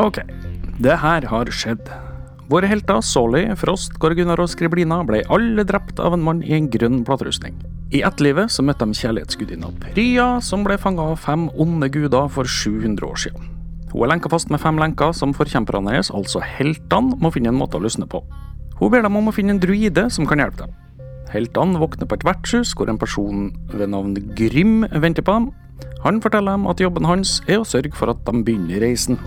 Ok, det her har skjedd. Våre helter Solly, Frost, Gorgunar og Skriblina ble alle drept av en mann i en grønn platerustning. I ettlivet så møtte de kjærlighetsgudinna Prya, som ble fanga av fem onde guder for 700 år siden. Hun er lenka fast med fem lenker som forkjemperne hennes, altså heltene, må finne en måte å løsne på. Hun ber dem om å finne en druide som kan hjelpe dem. Heltene våkner på et vertshus hvor en person ved navn Grym venter på dem. Han forteller dem at jobben hans er å sørge for at de begynner reisen.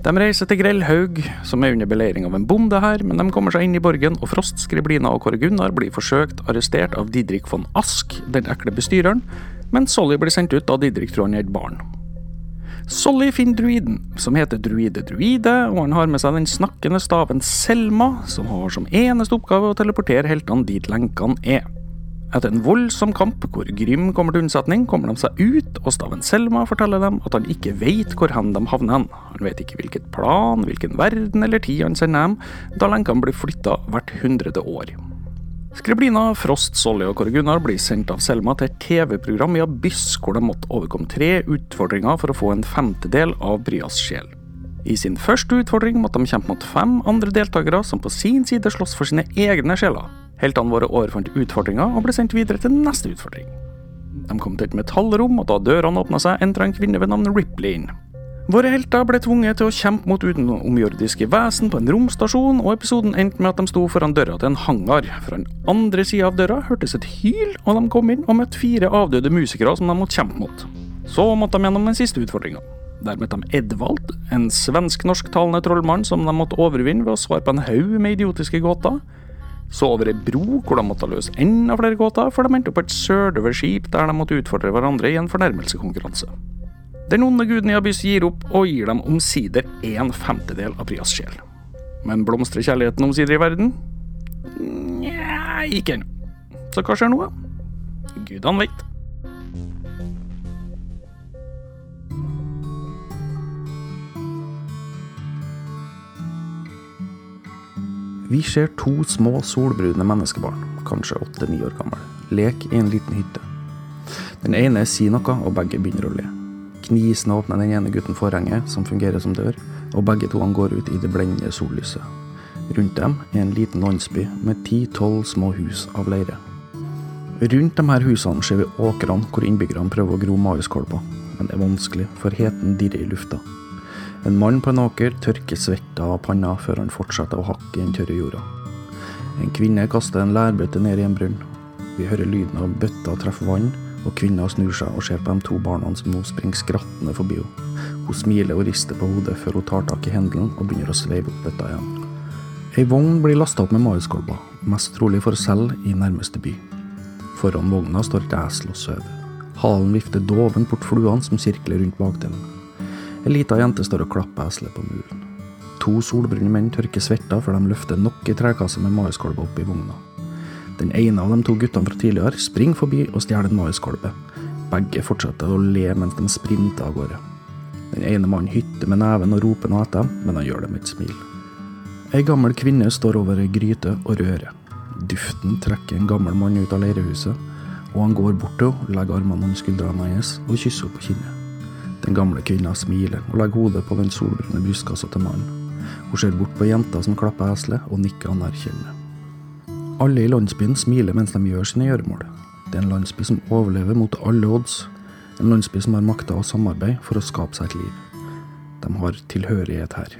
De reiser til Grellhaug, som er under beleiring av en bonde her, men de kommer seg inn i borgen, og Frost, Skriblina og Kåre Gunnar blir forsøkt arrestert av Didrik von Ask, den ekle bestyreren, men Solly blir sendt ut da Didrik tror han er et barn. Solly finner druiden, som heter Druide Druide, og han har med seg den snakkende staven Selma, som har som eneste oppgave å teleportere heltene dit lenkene er. Etter en voldsom kamp hvor Grym kommer til unnsetning, kommer de seg ut, og staven Selma forteller dem at han ikke vet hvor hen de havner hen. Han vet ikke hvilket plan, hvilken verden eller tid han sender dem, da lenkene blir flytta hvert hundrede år. Skriblina, Frost, Solly og Kåre Gunnar blir sendt av Selma til et TV-program i Abyss, hvor de måtte overkomme tre utfordringer for å få en femtedel av Bryas sjel. I sin første utfordring måtte de kjempe mot fem andre deltakere, som på sin side slåss for sine egne sjeler. Heltene våre overfant utfordringa og ble sendt videre til neste utfordring. De kom til et metallrom, og da dørene åpna seg, entra en kvinne ved navn Ripley inn. Våre helter ble tvunget til å kjempe mot utenomjordiske vesen på en romstasjon, og episoden endte med at de sto foran døra til en hangar. Fra den andre sida av døra hørtes et hyl, og de kom inn og møtte fire avdøde musikere som de måtte kjempe mot. Så måtte de gjennom den siste utfordringa. Der møtte de Edvald, en svensk-norsktalende trollmann som de måtte overvinne ved å svare på en haug med idiotiske gåter. Så over ei bro hvor de måtte løse enda flere gåter, for de endte opp på et søløverskip der de måtte utfordre hverandre i en fornærmelsekonkurranse. Den onde guden i Abyss gir opp, og gir dem omsider en femtedel av Prias sjel. Men blomstrer kjærligheten omsider i verden? Nja, ikke ennå. Så hva skjer nå, da? Gudene veit. Vi ser to små solbrune menneskebarn, kanskje åtte-ni år gamle, leke i en liten hytte. Den ene sier noe, og begge begynner å le. Gnisende åpner den ene gutten forhenget, som fungerer som dør, og begge to han går ut i det blendende sollyset. Rundt dem er en liten landsby med ti-tolv små hus av leire. Rundt de her husene ser vi åkrene hvor innbyggerne prøver å gro maiskål på, men det er vanskelig, for heten dirrer i lufta. En mann på en åker tørker svetta av panna før han fortsetter å hakke i den tørre jorda. En kvinne kaster en lærbøtte ned i en brunn. Vi hører lyden av bøtta treffe vann, og kvinna snur seg og ser på de to barna som nå springer skrattende forbi henne. Hun smiler og rister på hodet før hun tar tak i hendelen og begynner å sveive opp bøtta igjen. Ei vogn blir lasta opp med maiskolber, mest trolig for selv i nærmeste by. Foran vogna står et esel og sover. Halen vifter doven bort fluene som sirkler rundt bakdelen. Ei lita jente står og klapper eselet på muren. To solbrune menn tørker svetta før de løfter nok ei trekasse med maiskolber opp i vogna. Den ene av de to guttene fra tidligere springer forbi og stjeler en maiskolbe. Begge fortsetter å le mens de sprinter av gårde. Den ene mannen hytter med neven og roper noe etter dem, men han gjør det med et smil. Ei gammel kvinne står over ei gryte og rører. Duften trekker en gammel mann ut av leirehuset, og han går bort til henne, legger armene om skuldrene hennes og kysser henne på kinnet. Den gamle kvinna smiler og legger hodet på den solbrune brystkassa til mannen. Hun ser bort på jenta som klapper eselet, og nikker anerkjennende. Alle i landsbyen smiler mens de gjør sine gjøremål. Det er en landsby som overlever mot alle odds. En landsby som har makta å samarbeide for å skape seg et liv. De har tilhørighet her.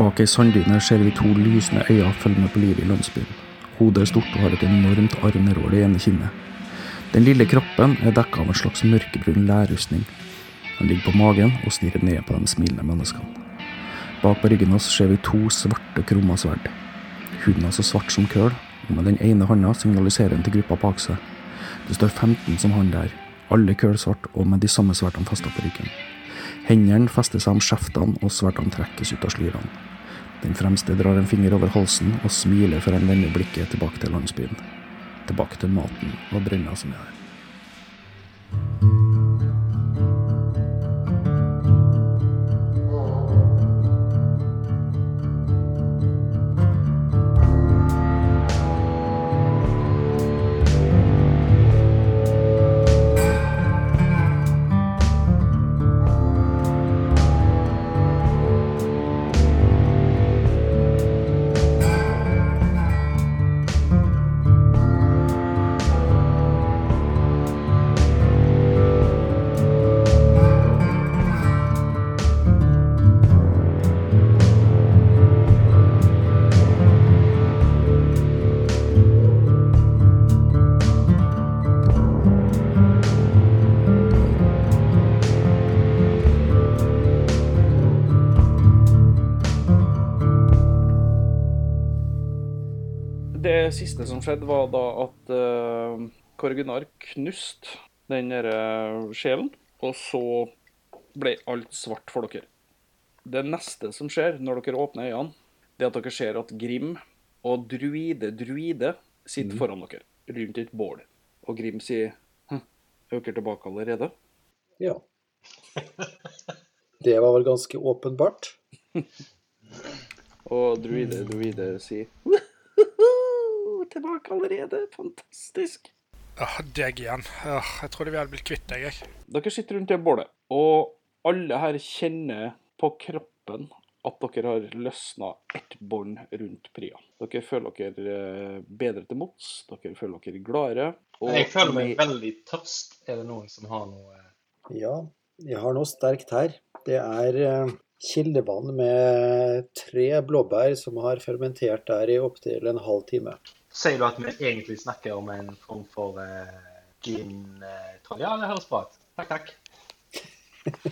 Bak ei sanddyne ser vi to lysende øyne følge med på livet i landsbyen. Hodet er stort og har et enormt arr nedover det ene kinnet. Den lille kroppen er dekka av en slags mørkebrun lærrustning. Han ligger på magen og stirrer ned på de smilende menneskene. Bak på ryggen hans ser vi to svarte, krumma sverd. Huden hans er svart som køl, og med den ene handa signaliserer han til gruppa bak seg. Det står 15 som han der, alle kølsvart og med de samme sverdene festa på ryggen. Hendene fester seg om skjeftene, og sverdene trekkes ut av slyrene. Den fremste drar en finger over halsen og smiler før han vender blikket tilbake til landsbyen. Tilbake til maten og brønna som er der. Det siste som skjedde, var da at uh, Korgunar knuste den derre sjelen, og så ble alt svart for dere. Det neste som skjer når dere åpner øynene, det er at dere ser at Grim og druide druide sitter foran dere rundt et bål. Og Grim sier «Hm, er dere tilbake allerede? Ja. Det var vel ganske åpenbart. Og druide druide sier tilbake allerede, fantastisk. Åh, deg igjen. Åh, jeg trodde vi hadde blitt kvitt deg, jeg. Dere sitter rundt det bålet, og alle her kjenner på kroppen at dere har løsna ett bånd rundt Priya. Dere føler dere eh, bedre til mots, dere føler dere gladere. og Men jeg føler meg i- veldig tørst. Er det noen som har noe eh, Ja, jeg har noe sterkt her. Det er eh, kildevann med tre blåbær som har fermentert der i opptil en halv time. Sier du at vi egentlig snakker om en form for eh, gin eh, tonic? Ja, det høres bra ut. Takk, takk.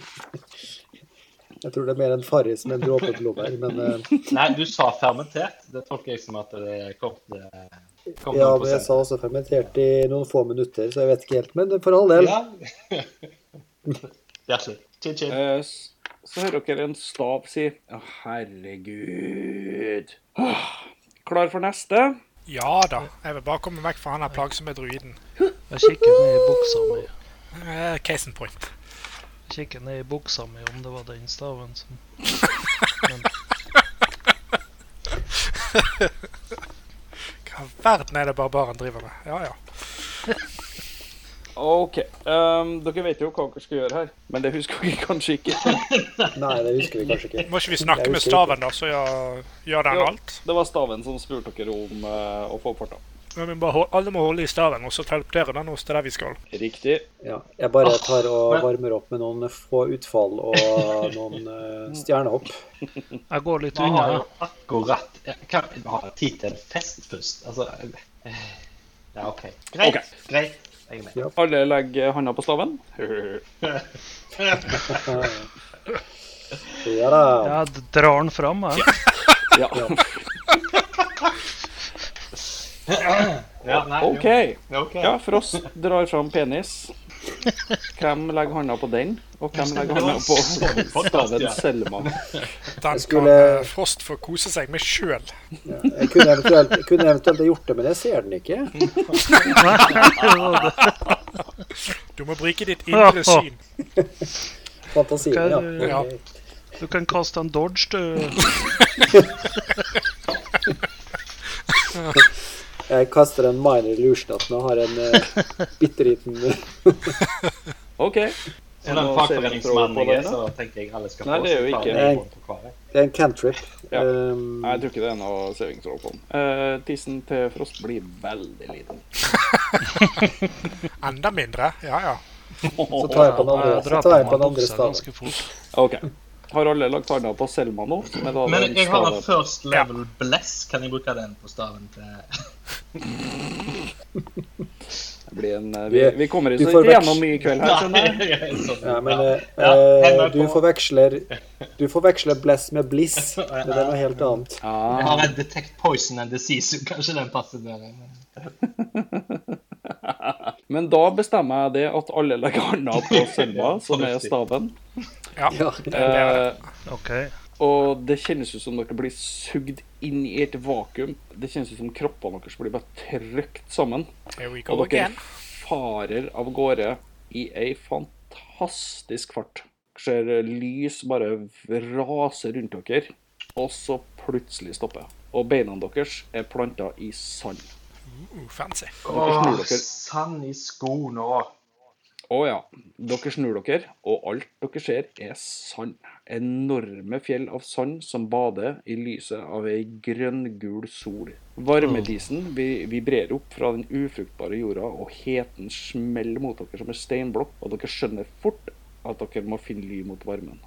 Jeg tror det er mer en farris med en dråpe blåbær, men eh, Nei, du sa fermentert. Det tolker jeg som at det er kort eh, kort ja, noen men jeg prosent. sa også fermentert i noen få minutter, så jeg vet ikke helt. Men det er for all del. Ja. Hjertelig. Chin, chin. Eh, s- Så hører dere en stav si Å, herregud. Åh, Klar for neste? Ja da. Jeg vil bare komme vekk fra han der plagsomme druiden. Jeg kikker ned i buksa mi. Eh, case in point. Jeg kikker ned i buksa mi om det var den staven som Hva i verden er det barbaren driver med? Ja ja. OK. ehm, dere vet jo hva dere skal gjøre her, men det husker dere kanskje ikke. Nei, det husker vi kanskje ikke. Må ikke vi snakke Jeg med husker staven, da, så gjør, gjør den Ja. alt? Det var staven som spurte dere om eh, å få farta. Men vi må bare hol- alle må holde i staven, og så teleportere den oss til der vi skal. Riktig. Ja, jeg bare tar og men- varmer opp med noen få utfall og noen eh, stjernehopp. Jeg går litt Vi unna. har jo jeg. akkurat Kan vi ha tid til en fest først? Altså eh, Ja, OK. Greit. Ok. Greit. Jeg er med. Alle legger handa på staven. Ja da. Jeg d- drar den fram, jeg. Ja. Ja, nei, jo. OK. Ok. Ja, Frost drar fram penis. Hvem legger handa på den, og hvem legger handa på staven Selma? Den skal skulle- eh, Frost få kose seg med sjøl. Jeg kunne eventuelt, jeg kunne eventuelt ha gjort det, men jeg ser den ikke. Du må bruke ditt indre syn. Fantasien, ja. Hva- ja. Ok. Du kan kaste en dodge, du. Jeg kaster en minor illusion at nå har en uh, bitte liten OK. Så den fagforeningsmannen jeg er, så tenker jeg alle skal Nei, få det er seg jo ikke- ferdig på hver. Det er en cantrip. Ja. Um, Nei, jeg tror ikke det er noe saving throw på den. Eh, tissen til Frost blir veldig liten. Enda mindre. Ja ja. så tar jeg på den andre, Jeg så drar tar jeg på meg på den andre buksa staven. ganske fort. OK. Har alle lagt handa på Selma nå? Som er da Men den jeg har en staven- first level bless. Kan jeg bruke den på staven til Det blir en, eh, vi, vi kommer Du ikke får vekst. gjennom mye i kveld her, skjønner jeg. Sånn, Ja, men eh, Ja, hender eh, du på. forveksler Du forveksler bless med bliss, men det er noe helt annet. Jeg Ah, har en Detect Poison and Disease. Kanskje den passer bedre. men da bestemmer jeg det at alle legger handa på Selma, som er staven. ja. Ja. er Eh, OK. Og det kjennes ut som dere blir sugd inn i et vakuum. Det kjennes ut som kroppene deres blir bare trykt sammen. Here we go Og dere again. farer av gårde i ei fantastisk fart. Dere ser lys bare rase rundt dere, og så plutselig stopper. Og beina deres er planta i sand. Uh, fancy. snur Åh, dere. Ah, sand i skoene ah. òg. Å ja. Dere snur dere, og alt dere ser, er sand. Enorme fjell av sand som bader i lyset av ei grønngul sol. Varmedisen vi- vibrerer opp fra den ufruktbare jorda, og heten smeller mot dere som en steinblokk, og dere skjønner fort at dere må finne ly mot varmen.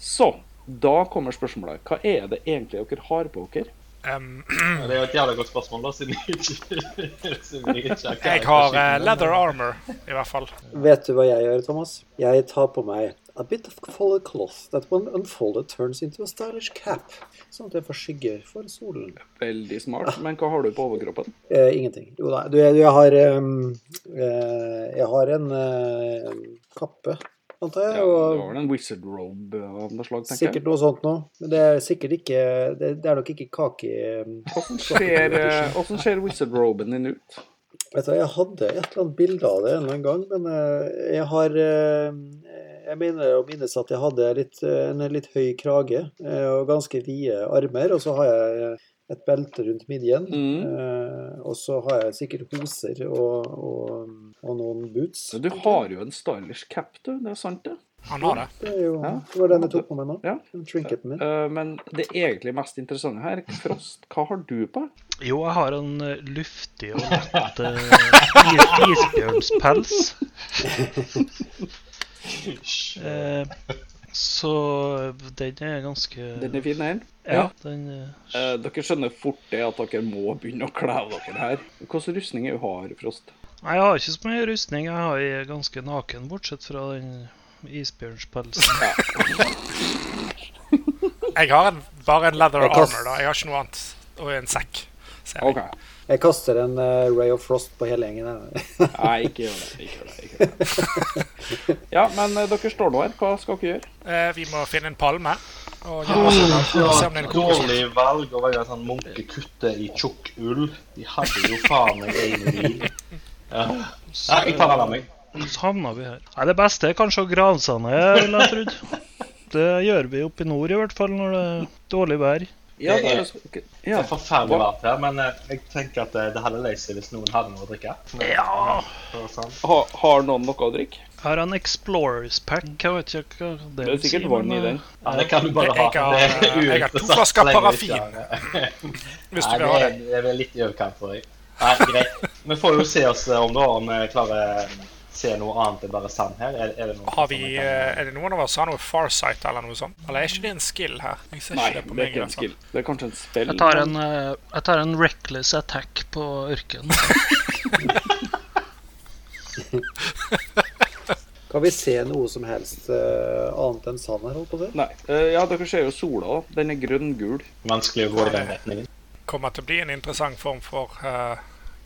Så, da kommer spørsmålet. Hva er det egentlig dere har på dere? Um, Det er jo et jævla godt spørsmål, da, siden jeg ikke, siden jeg ikke jeg har eh, leather armor, i hvert fall. Vet du hva jeg gjør, Thomas? Jeg tar på meg A bit of colored cloth that when unfolded turns into a stylish cap, sånn at jeg får skygger for solen. Veldig smart, men hva har du på overkroppen? Eh, ingenting. Jo da, du, jeg, jeg har ehm, eh, Jeg har en eh, kappe, antar jeg, Ja, du og har en wizard robe av noe slag, tenker sikkert jeg. noe sånt noe. Men det er sikkert ikke Det, det er nok ikke kake... ehm, Hvordan ser, eh, hvordan ser wizard roben din ut? Vet du, hva, jeg hadde et eller annet bilde av det en eller annen gang, men eh, jeg har eh, Jeg mener å minnes at jeg hadde litt, eh, en litt høy krage eh, og ganske vide armer, og så har jeg eh, et belte rundt midjen. Mm. eh, og så har jeg sikkert hoser og, og, og noen boots. Du har jo en stylish cap, du. Det er sant, det. Han har det. Det, er jo, Ja. det var den jeg tok på meg nå. Ja. Den Trinketen min. Eh, Men det egentlig mest interessante her, Frost, hva har du på? Jo, jeg har en eh, luftig og lett eh, is isbjørnspels. Eh, så den er ganske Den er fin, den. Ja, den eh, Eh, dere skjønner fort det at dere må begynne å kle av dere her. Hvilken rustning er du har, Frost? Nei, Jeg har ikke så mye rustning. Jeg har- jeg er ganske naken, bortsett fra den isbjørnspelsen. Jeg har en, bare en leather Jeg kan- armor, da. Jeg har ikke noe annet. Og en sekk. ser jeg. OK. Jeg kaster en eh, Ray of Frost på hele gjengen. jeg. Nei, ikke gjør det. Ikke gjør det. Ikke gjør det. Ja, men eh, dere står nå her. Hva skal dere gjøre? Eh, vi må finne en palme. Og gjøre oss en Det alter, og se om var det er et en kokosnøtt. dårlig valg å være sånn munkekutte i tjukk ull. De hadde jo faen meg egen bil. Ja. Nei, jeg tar den av meg. Så havna vi her. Nei, Det beste er kanskje å grave seg ned, ville jeg trodd. Det gjør vi oppe i nord, i hvert fall, når det er dårlig vær. Ja, Det er- dere skal- Det ja. er forferdelig varmt her, men eh, jeg tenker at eh, det hadde løst seg hvis noen hadde noe å drikke. Ja! Og sånn. Ha, har noen noe å drikke? Jeg har en Explorers Pack. Jeg vet ikke hva det eh, Det er sikkert vann i den. Ja, det kan du bare ha. eh, Jeg har- eh, Det er jeg har to uinteressant flasker så lenge du parafin. ikke har det. Hvis Nei, du vil ha det, det. er- det er vel litt i overkant for deg. Nei, greit. Vi får jo se oss eh, om da, om vi klarer å se noe annet enn bare sand her. Er, er det noe Har vi, som vi kan- eh, er det noen av oss som har noe farsight eller noe sånt? Eller er ikke det en skill her? Jeg ser Nei, ikke det det på er meg. altså. i hvert ikke en fall. skill. Det er kanskje en spill? Jeg tar en, eh, jeg tar en reckless attack på ørken. Kan vi se noe som helst eh, annet enn sand her, holdt på å si? Nei. Eh, Ja, dere ser jo sola. da. Den er grønn-gul. Vanskelig å gå i den retningen. Kommer til å bli en interessant form for eh,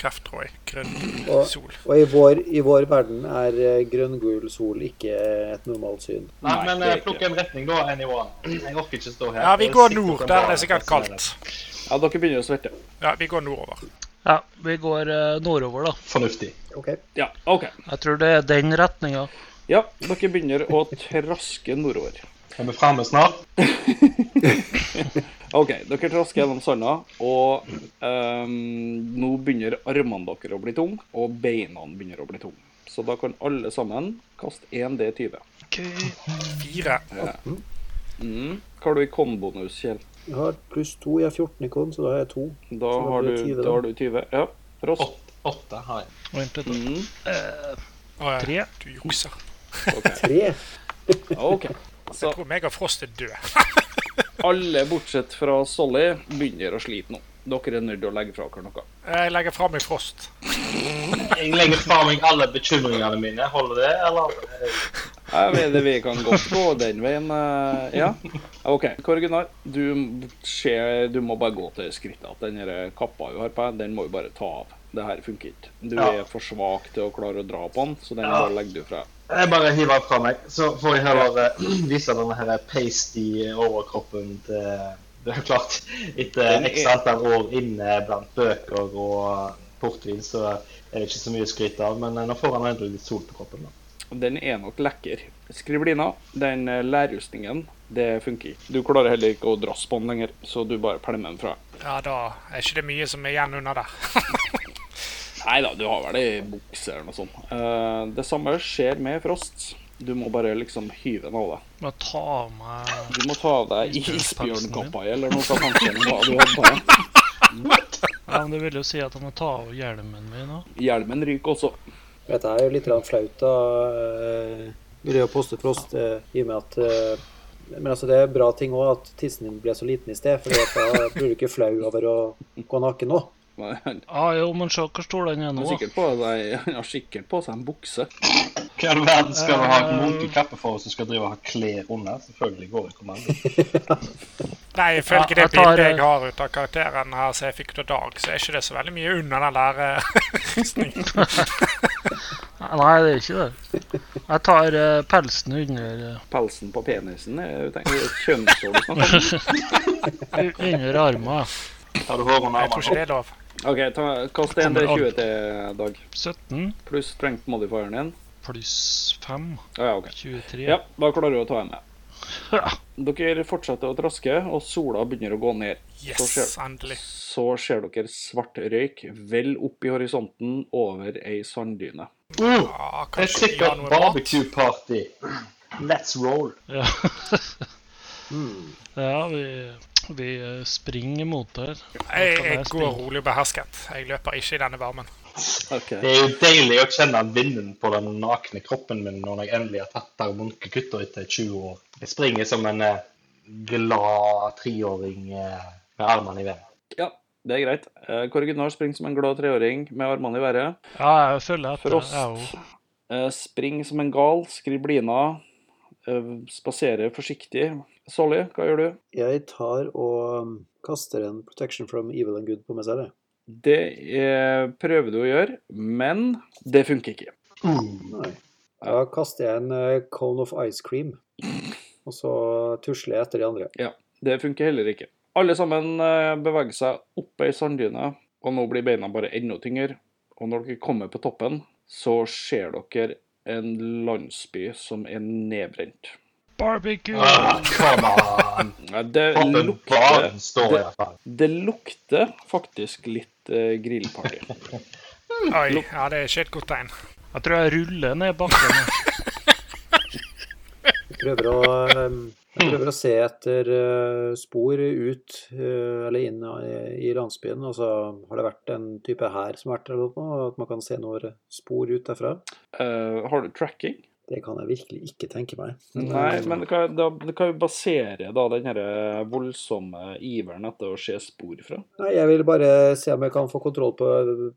kreft, tror jeg. Grønn Og- sol. Og i vår, i vår verden er eh, grønn-gul sol ikke et normalt syn. Nei, Nei, men det er eh, plukk en retning da, anyone. Jeg orker ikke stå her. Ja, vi Jeg går sitter på nord. en Der er bar, det sikkert sånn er det. kaldt. Ja, dere begynner å svette. Ja, vi går nordover. Ja, vi går eh, nordover, da. Fornuftig. OK. Ja, OK. Jeg tror det er den retninga. Ja, dere begynner å traske nordover. Er vi framme snart? OK, dere trasker gjennom sanda, og ehm, nå begynner armene deres å bli tunge, og beina begynner å bli tunge. Så da kan alle sammen kaste 1D20. Fire. Eh, Mm. Hva har du i kombonus, Kjell? Jeg har pluss to. Jeg har 14 i kon, så da har jeg to. Da Så da har du, blir det 20, da da. har du 20. Ja. Frost. Åt- Åtte har jeg. Vent litt. da. Eh. Mm. Å, ja, Tre. Du jukser. Tre. OK. Så Jeg tror meg og Frost er død. alle bortsett fra Solly begynner å slite nå. Dere er nødt til å legge fra dere noe. Jeg legger fra meg Frost. Jeg legger fra meg alle bekymringene mine. Holder det, eller? Jeg vet det, vi kan godt gå den veien. eh, Ja. OK. Kåre Gunnar, du, ser, du må bare gå til skrittet. At den her kappa du har på deg, den må du bare ta av. Det her funker ikke. Du Ja. er for svak til å klare å dra på den, så den Ja. bare legger du fra. Jeg bare hiver fra meg, så får jeg heller eh, vise denne her pasty overkroppen til Det er jo klart, eh, etter Den er- x antall år inne blant bøker og portvin, så er det ikke så mye å skryte av. Men eh, nå får han endelig litt sol på kroppen. da. Den er nok lekker. Skriblina, den eh, lærrustningen, det funker ikke. Du klarer heller ikke å drasse på den lenger, så du bare pælmer den fra. Ja, da er ikke det mye som er igjen under der. Nei da, du har vel ei bukse eller noe sånt. Eh, det samme skjer med Frost. Du må bare liksom hyve den av deg. Må jeg ta av meg Du må ta av deg Isbjørnpelsen din. isbjørnkappa eller noe sånt. Tanken, hva du hadde på deg. Ja, men Det vil jo si at jeg må ta av hjelmen min òg. Hjelmen ryker også. Dette er jo litt grann flaut, da. eh, Vil jeg påstå Frost, eh, i og med at eh, Men altså, det er bra ting òg at tissen din ble så liten i sted, for da blir du ikke flau over å gå naken nå. Men Han Ah, jo, men se hvor stor den er nå. har da. sikkert på seg, han har sikkert på seg en bukse. Hva i all verden skal du ha en munkekappe for hvis du skal drive og ha klær under? Selvfølgelig går ikke om andre. Nei, ifølge Ja, det jeg tar, bildet jeg eh, har ut av karakteren her som jeg fikk til dag, så er ikke det så veldig mye unna den der eh, rustningen. Nei, det er ikke det. Jeg tar eh, pelsen under, eh, Pelsen på penisen er jo tenkt- det er et kjønnshår du snakker om. u- eh, under armen. jeg. Har du hår under Jeg tror ikke armene? det er lov. OK, ta, kast en D20 til, Dag. 17 Pluss strength modifieren din. pluss 5 Å ja, OK. 23. Ja, da klarer du å ta en med. Ja. Dere fortsetter å traske, og sola begynner å gå ned. Yes, endelig. Så ser dere svart røyk vel opp i horisonten over ei sanddyne. Ah, Uh, det er kanskje vi har sikkert noe mat? barbecue-party. Let's roll. Ja, ja vi, vi eh, springer mot der. Jeg, Kan jeg går jeg springe? rolig og behersket. Jeg løper ikke i denne varmen. Okay. Det er jo deilig å kjenne vinden på den nakne kroppen min når jeg endelig har tatt der munkekutter etter 20 år. Jeg springer som en eh, glad treåring eh, med armene i været. Ja, det er greit. Eh, Kåre Gunnar springer som en glad treåring med armene i været. Ja, jeg følger etter. Frost Jeg er jo- eh, springer som en gal, skriblina. eh, Spaserer forsiktig. Solly, hva gjør du? Jeg tar og mm, kaster en protection from evil and good på meg selv. jeg. Det eh, prøver du å gjøre, men det funker ikke. Nei. Da kaster jeg en eh, cone of ice cream, og så tusler jeg etter de andre. Det funker heller ikke. Alle sammen eh, beveger seg opp ei sanddyne, og nå blir beina bare enda tyngre. Og når dere kommer på toppen, så ser dere en landsby som er nedbrent. Barbecue! Ah, come on! Nei, Det Toppen lukter, baren står i hvert fall. det lukter faktisk litt eh, grillparty. Oi, ja, det er ikke et godt tegn. Jeg tror jeg ruller ned bakken. jeg. Jeg prøver å, eh, jeg prøver å se etter eh, spor ut eh, eller inn i i landsbyen. Altså, har det vært en type hær som har vært der, eller noe? At man kan se noen spor ut derfra? Eh, har du tracking? Det kan jeg virkelig ikke tenke meg. eh, Nei, men det kan, da, det kan jo basere da, den her eh, voldsomme iveren etter å se spor fra. Nei, jeg vil bare se om jeg kan få kontroll på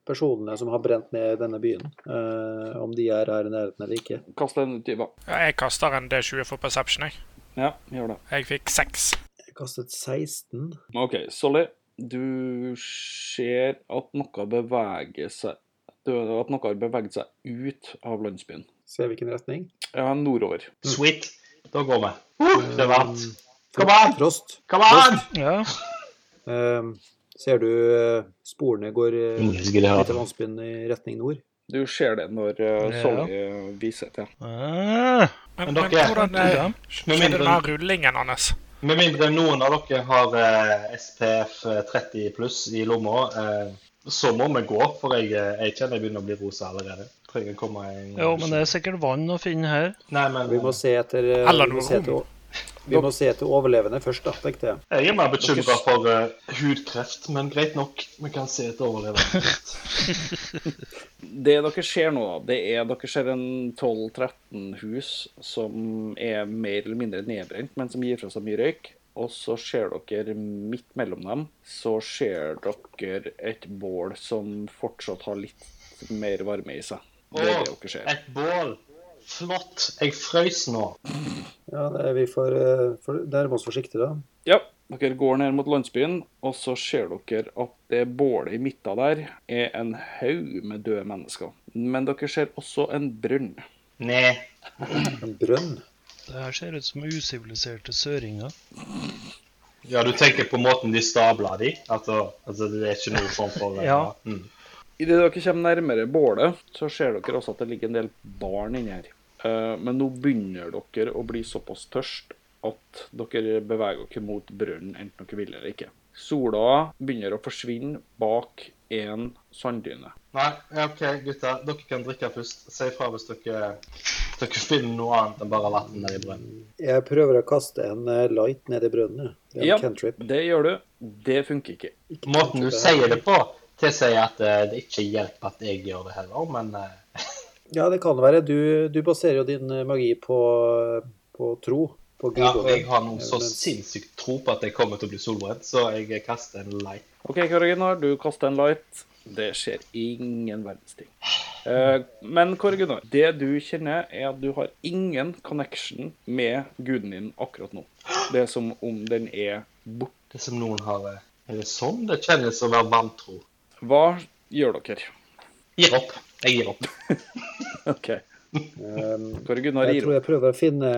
personene som har brent ned denne byen. Eh, om de er her i nærheten eller ikke. Kast en ut i hva? Ja, Jeg kaster en D20 for perception, jeg. Ja, gjør det. Jeg fikk seks. Jeg kastet 16. OK, Solly. Du ser at noe beveger seg du, At noe har beveget seg ut av landsbyen. Ser hvilken retning. Ja, nordover. Sweet. Da går vi. Uh, det er varmt. Kom an! Ehm, Frost, Kom an! Ja. eh, ser du eh, sporene går eh, Ingen skulle ha ut det. av landsbyen i retning nord? Du ser det når eh, Ja. Solly eh, viser til. Men, Ah, Men men dere- hvordan eh, ja. Med skjedde den mindre, her rullingen hans? med mindre noen av dere har eh, SPF 30 pluss i lomma, eh, så må vi gå, for jeg, eh, jeg kjenner jeg begynner å bli rosa allerede. Trenger å komme en... Jo, men det er sikkert vann å finne her. Nei, men Vi må se etter, eh, Eller vi noe må se rom. etter, vi må se etter overlevende først, da, tenkte jeg. jeg er mer bekymra for eh, hudkreft, men greit nok. Vi kan se et overlevende. Det dere ser nå, da, det er dere ser en 12-13 hus som er mer eller mindre nedbrent, men som gir fra seg mye røyk. Og så ser dere midt mellom dem, så ser dere et bål som fortsatt har litt mer varme i seg. Det er det dere ser. Et bål! Flott! Jeg frøs nå. Ja, det- vi får eh, for- nærme oss forsiktig, da. Ja, dere går ned mot landsbyen, og så ser dere at det bålet i midten der er en haug med døde mennesker. Men dere ser også en brønn. Nei. En brønn. Det her ser ut som usiviliserte søringer. Ja, du tenker på måten de stabler de? Altså, altså det er ikke noe form for eh, Ja. Mm. Idet dere kommer nærmere bålet, så ser dere også at det ligger en del barn inni her. Eh, Men nå begynner dere å bli såpass tørst at dere beveger dere mot brønnen, enten dere vil eller ikke. Sola begynner å forsvinne bak en sanddyne. Nei, ja, OK, gutter. Dere kan drikke først. Si ifra hvis dere, dere finner noe annet enn bare vann nedi brønnen. Jeg prøver å kaste en eh, light ned i brønnen. jeg. Det er en Ja. cantrip. Det gjør du. Det funker ikke. Måten du sier det på, tilsier at eh, det ikke hjelper at jeg gjør det heller, men eh, Ja, det kan være. Du, du baserer jo din eh, magi eh, på, på tro. på Ja, Grigor. jeg har nå så Men- sinnssykt tro på at jeg kommer til å bli solbrent, så jeg kaster en light. OK, Kåre-Gunnar, du kaster en light. Det skjer ingen verdens ting. Eh, Men Kåre-Gunnar, det du kjenner, er at du har ingen connection med guden din akkurat nå. Det er som om den er borte. Det som noen har eh, Er det sånn det kjennes å være vantro? Hva gjør dere? Gir opp. Jeg gir opp. OK. Ehm, Kåre-Gunnar Jeg gir tror opp. jeg prøver å finne,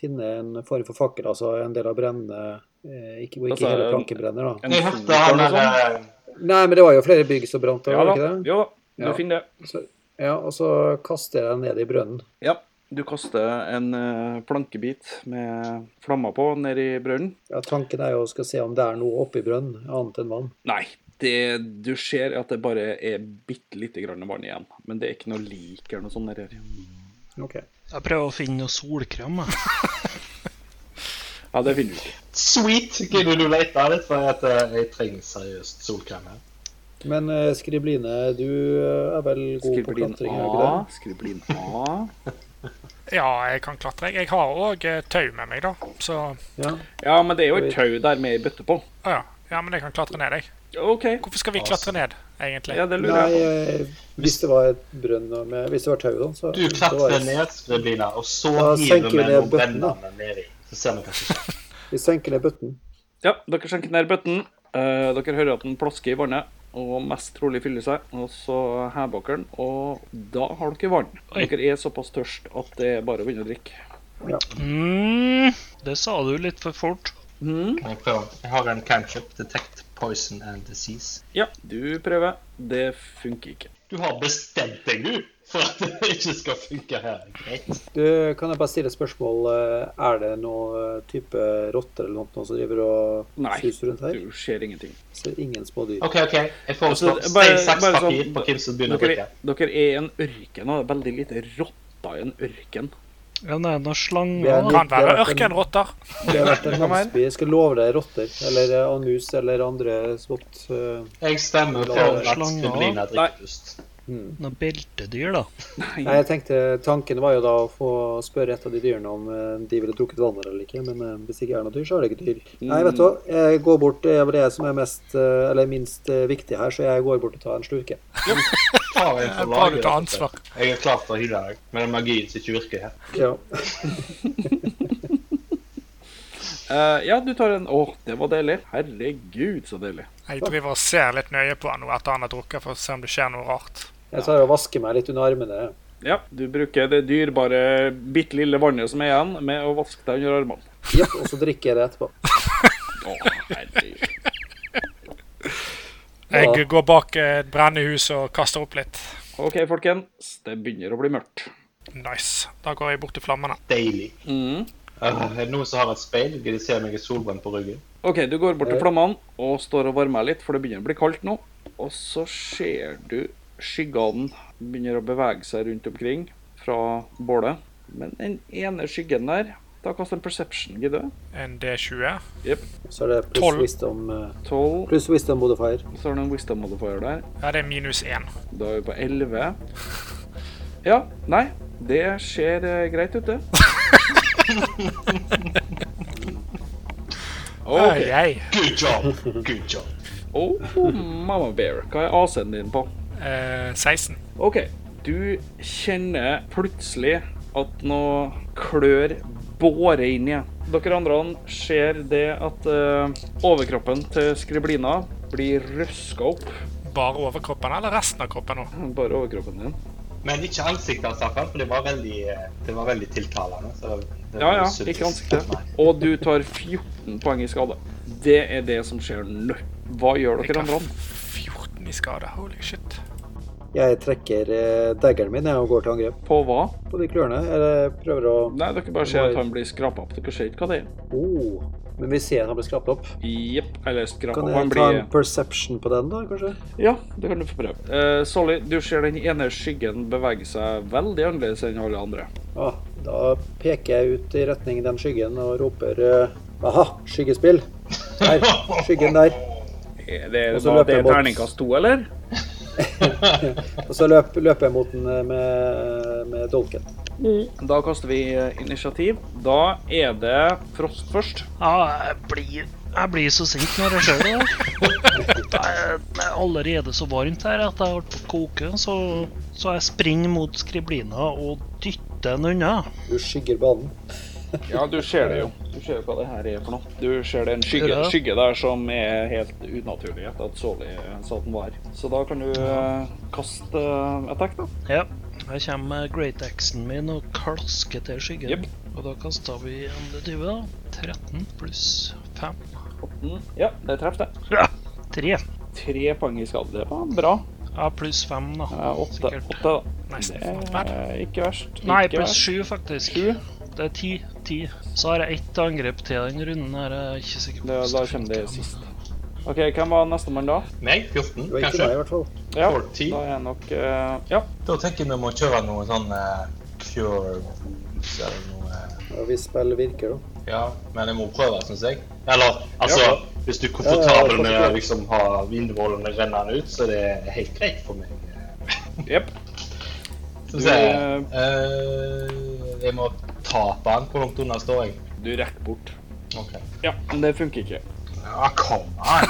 finne en form for fakkel, altså en del av brennene. eh, Ikke, hvor ikke Altså, hele en- planken brenner, da. En Jeg fot hørte eller han noe der sånt. eh, Nei, men det var jo flere bygg som brant, Ja var det da. ikke det? Jo da. Du Ja. finner det. Så, ja, og så kaster jeg den ned i brønnen. Ja. Du kaster en eh, plankebit med flammer på ned i brønnen. Ja, tanken er jo å skal se om det er noe oppi brønnen, annet enn vann. Nei. Det, du ser at det bare er bitte lite grann vann igjen. Men det er ikke noe lik eller noe sånt nedi her. Ok. Jeg prøver å finne noe solkrem. jeg. Ja, det finner du ikke. Sweet! Gidder du lete litt? For at eh, jeg trenger seriøst solkrem her. Men eh, Skribline, du eh, er vel god på Skriblin klatring, er du ikke A. det? Skriblin A. Ja, jeg kan klatre. jeg. Jeg har òg tau med meg, da. Så Ja. Ja, men det er jo et tau der med ei bøtte å på. ja. ja, men jeg kan klatre ned, jeg. OK. Hvorfor skal vi klatre ned, egentlig? Ja, det Nei, lurer jeg på. eh, hvis det var et brønn med Hvis det var tau, da, så Du så var klatrer det- ned, Skriblina, og så Da gir senker du vi med ned noe bøtten, da. brennende nedi. Så ser vi hva som skjer. Vi senker ned bøtten. Ja, dere skjenker ned bøtten. Eh, dere hører at den plasker i vannet, og mest trolig fyller seg. Og så hever dere den, og da har dere vann. Oi. Dere er såpass tørst at det er bare å begynne å drikke. Mm, det sa du litt for fort. Hmm? Mm. Jeg prøver. Jeg har en cantrip. Detect poison and disease. Ja, du prøver. Det funker ikke. Du har bestemt deg, du, for at det ikke skal funke her. Greit. Du, kan jeg bare stille et spørsmål? eh, Er det noe eh, type rotter eller noe som driver og Nei. suser rundt her? Du ser ingenting. Ser ingen små dyr. OK, OK. Jeg foreslår Altså, bare- stein, saks, bare sånn- papir på hvem som begynner å drikke. Dere, dere er i en ørken, og det er veldig lite rotter i en ørken. Ja, nei, noen Det er slanger. da. litt- Kan være det har vært en- ørkenrotter. Det har vært en Det kan være. landsby. Jeg skal love deg rotter eller eh, og mus eller andre smått eh, Jeg stemmer Ja, for at slanger. Skriblina drikker først. hmm. Noen beltedyr, da. Nei, jeg tenkte Tanken var jo da å få spørre et av de dyrene om eh, de ville drukket vannet eller ikke. Men eh, hvis det ikke er noe dyr, så er det ikke dyr. Nei, vet du hva. Jeg går bort. Det er vel det som er mest, eh, eller minst eh, viktig her, så jeg går bort og tar en slurke. Ta en for Bra du laget, tar dette. ansvar. Jeg er klar for å hylle deg med den magien som ikke virker her. Ja. Eh, ja, du tar en Å, det var deilig. Herregud, så deilig. Jeg driver og ser litt nøye på han nå etter han har drukket, for å se om det skjer noe rart. Jeg tar og vasker meg litt under armene. Ja, du bruker det dyrebare, bitte lille vannet som er igjen, med å vaske deg under armene. Ja, og så drikker jeg det etterpå. Å, herregud. Ja. Jeg går bak eh, et brennende hus og kaster opp litt. OK, folkens. Det begynner å bli mørkt. Nice. Da går jeg bort til flammene. Deilig. Mhm. Øh, er det noen som har et speil? Gidder de se om jeg er solbrent på ryggen? OK, du går bort til Ja. flammene og står og varmer litt, for det begynner å bli kaldt nå. Og så ser du skyggene begynner å bevege seg rundt omkring fra bålet. Men den ene skyggen der Da kaster en perception, gidder du? En D20. Så er det pluss Tolv. wisdom, eh, 12, pluss wisdom modifier. så har du en wisdom modifier der. Ja, det er minus én. Da er vi på 11. Ja, nei, det ser eh, greit ut, det. Oi, OK. ei. Good job! Good job. Oh, mamma bear, hva er AC-en din på? Eh, 16. OK, du kjenner plutselig at noe klør båre inn i deg. Dere andre ser det at eh, overkroppen til Skriblina blir røska opp. Bare overkroppen eller resten av kroppen nå? Bare overkroppen din. Men ikke ansiktet hans, iallfall, for det var veldig, eh, det var veldig tiltalende. Så det Ja, var ja. sunt. Ikke ansiktet. Nei. Og du tar 14 poeng i skade. Det er det som skjer nå. Hva gjør Jeg dere har andre? 14 i skade. Holy shit. Jeg trekker eh, daggeren min jeg, og går til angrep På hva? på de klørne. Eller prøver å Nei, dere bare ser at han blir skrapa opp. Dere ser ikke hva det er. oh, Men vi ser han blir skrapt opp. Jepp. Eller skrapa Kan opp. jeg Han ta blir en perception på den, da, kanskje? Ja, det kan du få prøve. Eh, Solly, du ser den ene skyggen bevege seg veldig annerledes enn alle andre. Ah, da peker jeg ut i retning den skyggen og roper eh, Aha, skyggespill! Der. Skyggen der. Eh, Det, Og så var løper det jeg bort. terningkast to, eller? Og så løp, løper jeg mot den eh, med, med dolken. Da kaster vi eh, initiativ. Da er det Frost først. Ja, jeg blir, jeg blir så sint når jeg ser det. Det er det er allerede så varmt her at jeg holdt på å koke, så, så jeg springer mot skriblina og dytter den unna. Du skygger banen. Ja, du ser det jo. Du ser jo hva det her er for noe. Du ser det er en skygge, Ja. skygge der som er helt unaturlig etter at Soli sa at den var. Så da kan du eh, kaste eh, attack, da. Ja, her kommer great axen min og klasker til skyggen. Jep. Og da kaster vi en d20, da. 13 pluss 5. Mm. Ja, det treffer, det. 3. Tre poeng i skade. Det var bra. Ja, pluss 5, da. Eh, Åtte, Sikkert. åtte da. Nice. Not Det bad. er ikke verst. Nei, ikke pluss verst. 7, faktisk. Sju. Det er 10. 10. Så har jeg ett angrep til den runden her. Jeg er ikke sikker på Da, hvordan da det kommer det funker. sist. OK, hvem var nestemann da? Meg? 14, Det var ikke kanskje? meg, i hvert fall. Ja, 14. da er nok eh, Ja. Da tenker jeg vi må kjøre noe sånn eh, cure wounds eller noe eh, Og hvis spillet virker, da. Ja, men jeg må prøve, syns jeg. Eller altså, Ja, hvis du er Ja, ja, komfortabel med å forstår. liksom ha vindmålene rennende ut, så det er helt greit for meg. Jepp. Skal Du, vi se eh, Eh, Jeg må tape han. Hvor langt unna står jeg? du rekker bort. Ok. Ja, men det funker ikke. Ja, kom an!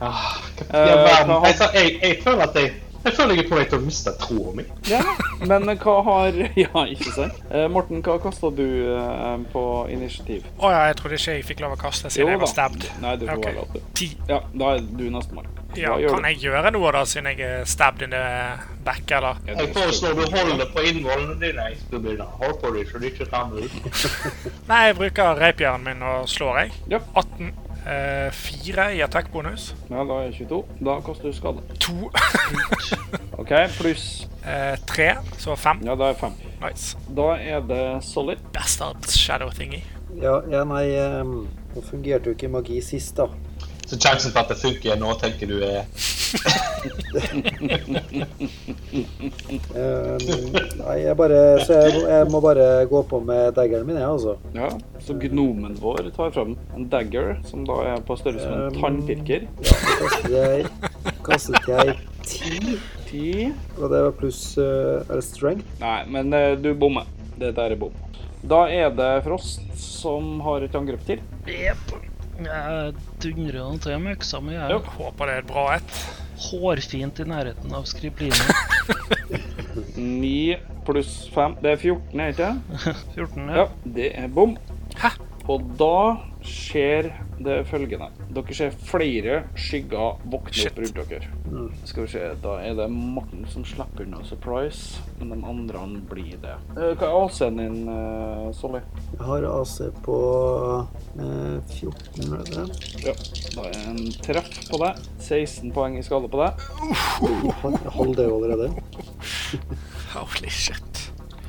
Ah, hva- Eh, jeg, hva har- jeg, sa- altså, jeg, jeg føler at jeg jeg føler jeg er på vei til å miste troa mi. Ja, men hva har Ja, ikke sant? Eh, Morten, hva kasta du eh, på initiativ? Å ja, jeg trodde ikke jeg fikk lov å kaste siden jeg var stabbed. Nei, du får Ok. være lov til. Ti. Ja, da er du nestemann. Ja, Hva gjør kan jeg gjøre noe da, siden jeg er stabbed in the back, eller? Jeg foreslår du holder på innvollene dine. Jeg skal begynne å holde på dem så de ikke ramler ut. Nei, jeg bruker reipjernen min og slår, jeg. Ja. 18. eh, 4 i attack-bonus. Ja, da er jeg 22. Da kaster du skade. 2. OK, pluss 3, Eh, så 5. Ja, da er fem. Nice. Da er det solid. Bastard shadow thingy. Ja, ja nei, eh, nå fungerte jo ikke magi sist, da. Så sjansen for at det funker nå, tenker du er Eh, nei, jeg bare Så jeg, jeg må bare gå på med daggeren min, jeg, altså. Ja, Så gnomen vår tar fram en dagger, som da er på størrelse med en Um. tannpirker. Kastet jeg, kastet jeg ti, Ti og det var pluss eh, Er det strength? Nei, men eh, du bommer. Det der er bom. Da er det Frost som har et angrep til. Jep. Jeg dundrer den til med øksa mi. Jeg Ja. er Håper det er et bra ett. hårfint i nærheten av skriblina. Ni pluss fem Det er 14, er det ikke? 14, Ja, ja. det er bom. Og da skjer det følgende. Dere ser flere skygger våkne Shit. opp rundt dere. Skal vi se, da er det Morten som slipper unna surprise, men de andre blir det. Eh, Hva er AC-en din, eh, Solly? Jeg har AC på eh, 14, er det det? Ja, da er det en treff på deg. 16 poeng i skade på deg. Jeg holder det jo allerede. Holy shit.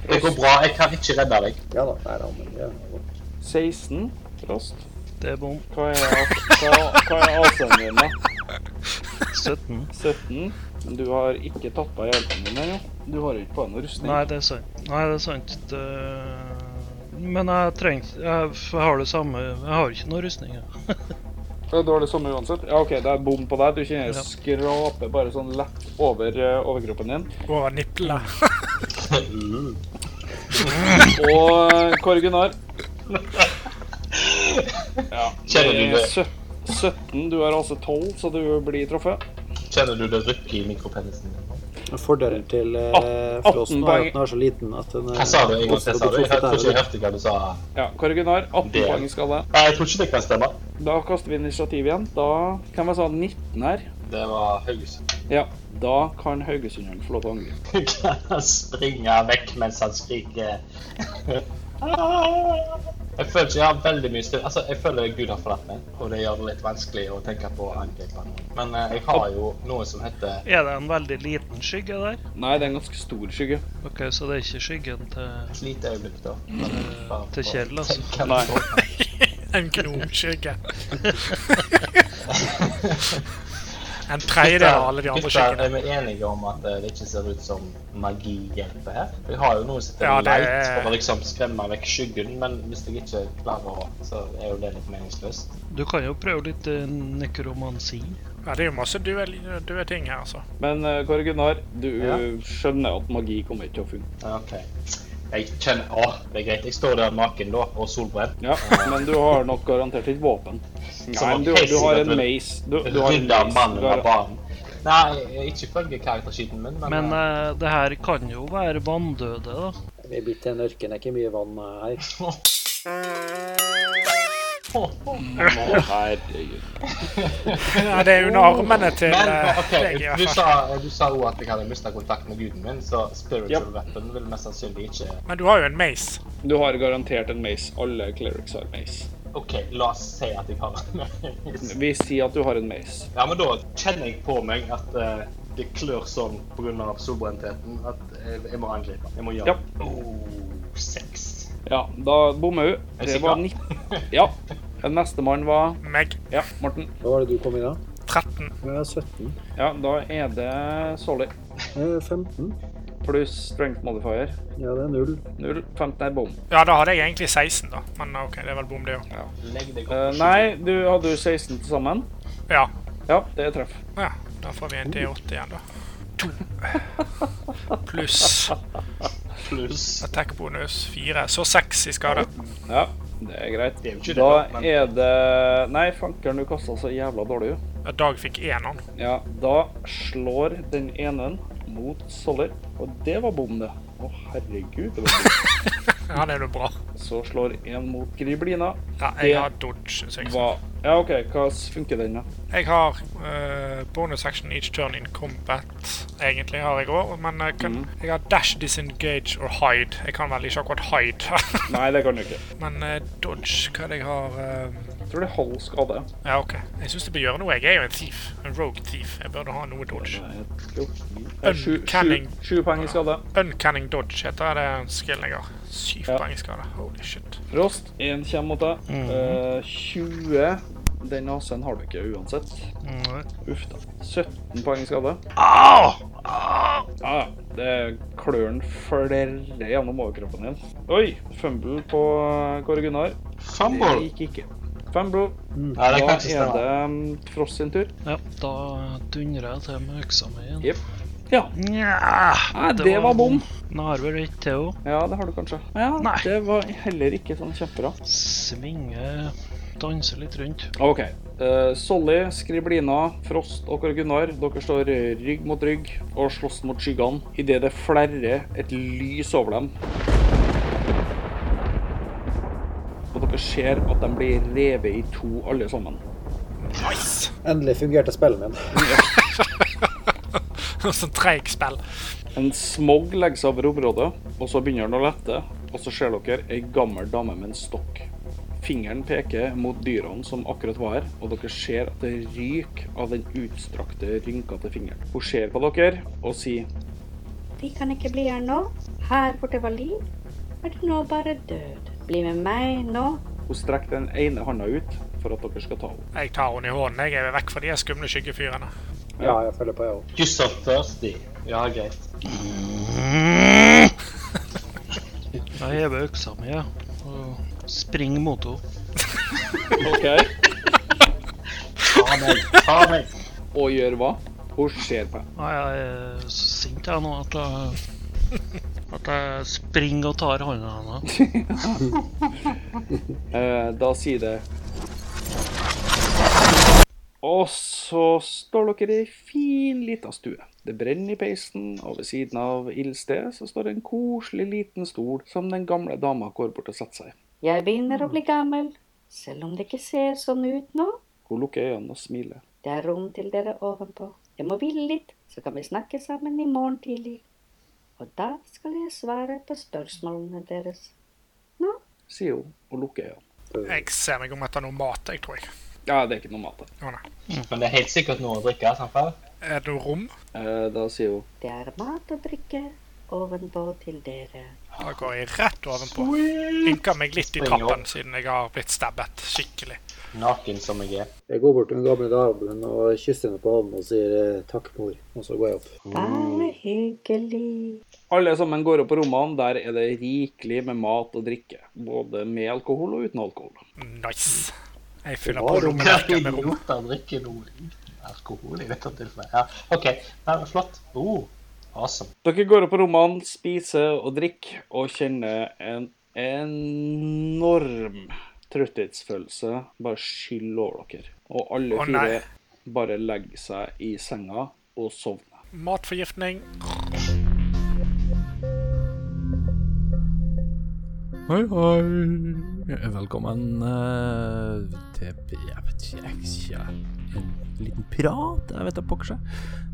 Det går bra, jeg kan ikke redde deg. Ja da. Nei, da men, ja. 16 frost. Det er bom. Hva er, hva, hva er AC-en din, da? 17. 17. Men du har ikke tatt på deg hjelpen din, her, jo. Du har ikke på deg noe rustning. Nei, det er sant. Nei, det er sant. Det... Men jeg trenger jeg, jeg har det samme Jeg har ikke noe rustning. jeg. Ja, Da er det samme uansett. Ja, OK, det er bom på deg. Du kjenner Ja. det skraper bare sånn lett over eh, overkroppen din. Over nippelet. Og eh, Kåre Gunnar. Ja, Kjenner du er det? sø- 17. Du har altså 12, så du blir truffet. Kjenner du det rykker i mikropennisen din? nå? Men Fordelen til eh, At- Frosten er 18 at den er så liten at den eh, Hva sa du en gang til? sa du? Jeg tror ikke ja. jeg hørte hva du sa. Ja, Kåre Gunnar, 18 Det- poeng i skade. Nei, jeg tror ikke det kan stemme. Da kaster vi initiativ igjen. Da kan vi sa 19 her. Det var Haugesund. Ja, da kan Haugesunderen få lov til å angripe. Kan han springe vekk mens han skriker? Jeg føler ikke jeg har veldig mye støv. Altså, jeg føler Gud har forlatt meg, og det gjør det litt vanskelig å tenke på å angripe noen. Men eh, jeg har jo noe som heter Er det en veldig liten skygge der? Nei, det er en ganske stor skygge. OK, så det er ikke skyggen til et lite øyeblikk, da. Men jeg bare Til får Kjell, altså. tenke Nei. på- En gnomskygge. En tredjedel av alle de andre Gutter, skyggene. Er vi enige om at eh, det ikke ser ut som magi hjelper her? Vi har jo noe som heter Ja, det er- light for å liksom skremme vekk skyggen, men hvis jeg ikke klarer å, så er jo det litt meningsløst. Du kan jo prøve litt eh, nekromansi. Ja, det er jo masse duell- døde ting her, altså. Men eh, Kåre Gunnar, du Ja. skjønner at magi kommer ikke til å funke. OK. Jeg kjenner Å, det er greit. Jeg står der naken da, og solbrent. Ja, men du har nok garantert ikke våpen. Nei, men du, du har en mace. Du, du har en Rydda mace. mannen Du har- av banen. Nei, ikke følge karakterskiten min, men, Men eh, eh, det her kan jo være vanndøde, da. Vi er blitt til en ørken, det er ikke mye vann eh, her. Å, herregud. eh, Ja, det er under armene til Men eh, OK, deg, i du hvert fall. sa, du sa også at jeg hadde mista kontakten med guden min, så spiritual Yep. weapon vil mest sannsynlig ikke Men du har jo en mace. Du har garantert en mace. Alle clerics har mace. OK, la oss si at jeg har en Vi sier at du har en mace. Ja, men da kjenner jeg på meg at eh, det klør sånn pga. solbrentheten at jeg, jeg må angripe. Jeg må gjøre Ja. oh, sex. Ja, da bommer hun. Er du Det sikker? var 19. Ja. Nestemann var Meg. Ja, Morten. Hva var det du kom i da? 13. Jeg er 17. Ja, da er det Solly Jeg er 15. pluss strength modifier. Eh, Ja, det er null. 0. 15 er bom. Ja, da hadde jeg egentlig 16, da. Men OK, det er vel bom, det òg. Legg deg Eh, nei, du hadde jo 16 til sammen. Ja. Ja, det er treff. ja. Da får vi en D8 igjen, da. To. Pluss pluss. attack-bonus fire. Så seks i skade. Ja, det er greit. Det er jo ikke Da det, men- er det Nei, fankeren, du kasta så jævla dårlig, jo. Ja, Dag fikk én, han. Ja, da slår den ene mot Solly, og det var bom, det. Å, herregud. det var bom. Ja, det er jo bra. Så slår én mot Griblina. Ja, jeg har dodge. Så jeg, Hva Ja, OK, hva funker den, da? jeg har eh, bonus action each turn in combat. Egentlig har jeg òg, men jeg, Mm. kan, jeg har dash, disengage or hide. Jeg kan vel ikke akkurat hide. Nei, det kan du ikke. men eh, dodge, hva er det jeg har eh, Jeg tror det er halv skade. Ja, OK. Jeg syns det bør gjøre noe. Jeg er jo en thief. En rogue thief. Jeg burde ha noe dodge. Nei, jo. Det er sju, sju, Uncanning. sju poeng i skade. Uncanning dodge heter det en skill jeg har. Syv Ja. poeng i skade. Holy shit. Rost, én kommer mot deg. Eh, 20. Den AC-en har du ikke uansett. Uff da. 17 poeng i skade. Ja, ja. det er klørne flere gjennom overkroppen din. Oi! Fumble på eh, Kåre Gunnar. Det Fumble. gikk ikke. Fumble. Nei, Da det kan er ikke stemme. det mm, Frost sin tur. Ja, da dundrer jeg til med øksa mi igjen. Jepp. Ja. Nja, Nei, det var bom. Nå har vi litt til henne. Ja, det har du kanskje. Ja, Nei. Det var heller ikke sånn kjempebra. Svinge, danse litt rundt. OK. eh, Solly, Skriblina, Frost og Kåre Gunnar, dere står rygg mot rygg og slåss mot skyggene idet det flerrer et lys over dem. Og dere ser at de blir revet i to, alle sammen. Nice! Endelig fungerte spillet min. Sånn treig spill. En smog legger seg over området, og så begynner den å lette. Og så ser dere ei gammel dame med en stokk. Fingeren peker mot dyrene som akkurat var her, og dere ser at det ryker av den utstrakte, rynkete fingeren. Hun ser på dere og sier Vi kan ikke bli her nå. Her hvor det var liv, er det nå bare død. Bli med meg nå. Hun strekker den ene handa ut for at dere skal ta henne. Jeg tar henne i hånden. Jeg er vekk fra de skumle skyggefyrene. Ja, jeg følger på, jeg òg. You so thirsty. Ja, greit. Mm. Jeg hever øksa mi, ja. Og springer mot henne. OK, Ta meg. Ta meg. og gjør hva? Hun ser på deg. Nei, jeg er så sint jeg nå at jeg At jeg springer og tar hånda hennes. Eh, da sier det Og så står dere i ei fin lita stue. Det brenner i peisen, og ved siden av ildstedet så står det en koselig liten stol som den gamle dama går bort og setter seg i. Jeg begynner å bli gammel, selv om det ikke ser sånn ut nå. Hun lukker øynene og smiler. Det er rom til dere ovenpå. Jeg må hvile litt, så kan vi snakke sammen i morgen tidlig. Og da skal jeg svare på spørsmålene deres. Sier hun og lukker øynene. Jeg ser meg om etter noe mat, jeg tror jeg. Ja, det er ikke noe mat der. Å nei. Mm, Men det er helt sikkert noe å drikke. sant vel? Er det noe rom? Eh, da sier hun Det er mat og drikke ovenpå til dere. Da går jeg rett ovenpå. Ynker meg litt i Springer trappen siden jeg har blitt stabbet skikkelig. Naken som jeg er. Jeg går bort til den gamle damen og kysser henne på hånden og sier eh, takk, mor. Og så går jeg opp. Bare hyggelig. Alle sammen går opp på rommene. Der er det rikelig med mat og drikke. Både med alkohol og uten alkohol. Nice. Jeg fyller Det på var Hva lommerekka er med rom. det å drikke noe? alkohol i dette tilfellet. Ja, OK. Nei, men flott. Oh, awesome. Dere går opp på rommene, spiser og drikker, og kjenner en enorm trøtthetsfølelse bare skylle over dere. Og alle Å, nei. fire bare legger seg i senga og sovner. Matforgiftning. Hei, hei. Velkommen eh, til Jeg vet ikke, jeg vet ikke En liten prat? Jeg vet da pokker seg.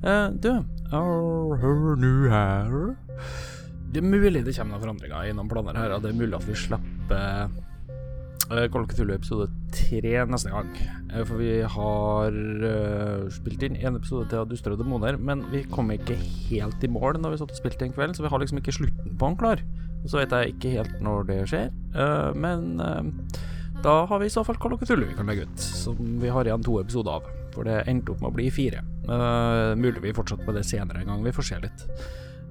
Eh, Du, jeg hører nå her Det er mulig det kommer noen forandringer i noen planer her, og det er mulig at vi slipper eh, Call of Cthulhu episode tre neste gang. Eh, For vi har eh, spilt inn en episode til av Duster og demoner, men vi kom ikke helt i mål når vi satt og spilte den kvelden, så vi har liksom ikke slutten på den klar. Og Så vet jeg ikke helt når det skjer, eh, men eh, da har vi i så fall Call of Cthulhu vi kan legge ut, som vi har igjen to episoder av. For det endte opp med å bli fire. Eh, mulig vi fortsetter med det senere en gang, vi får se litt.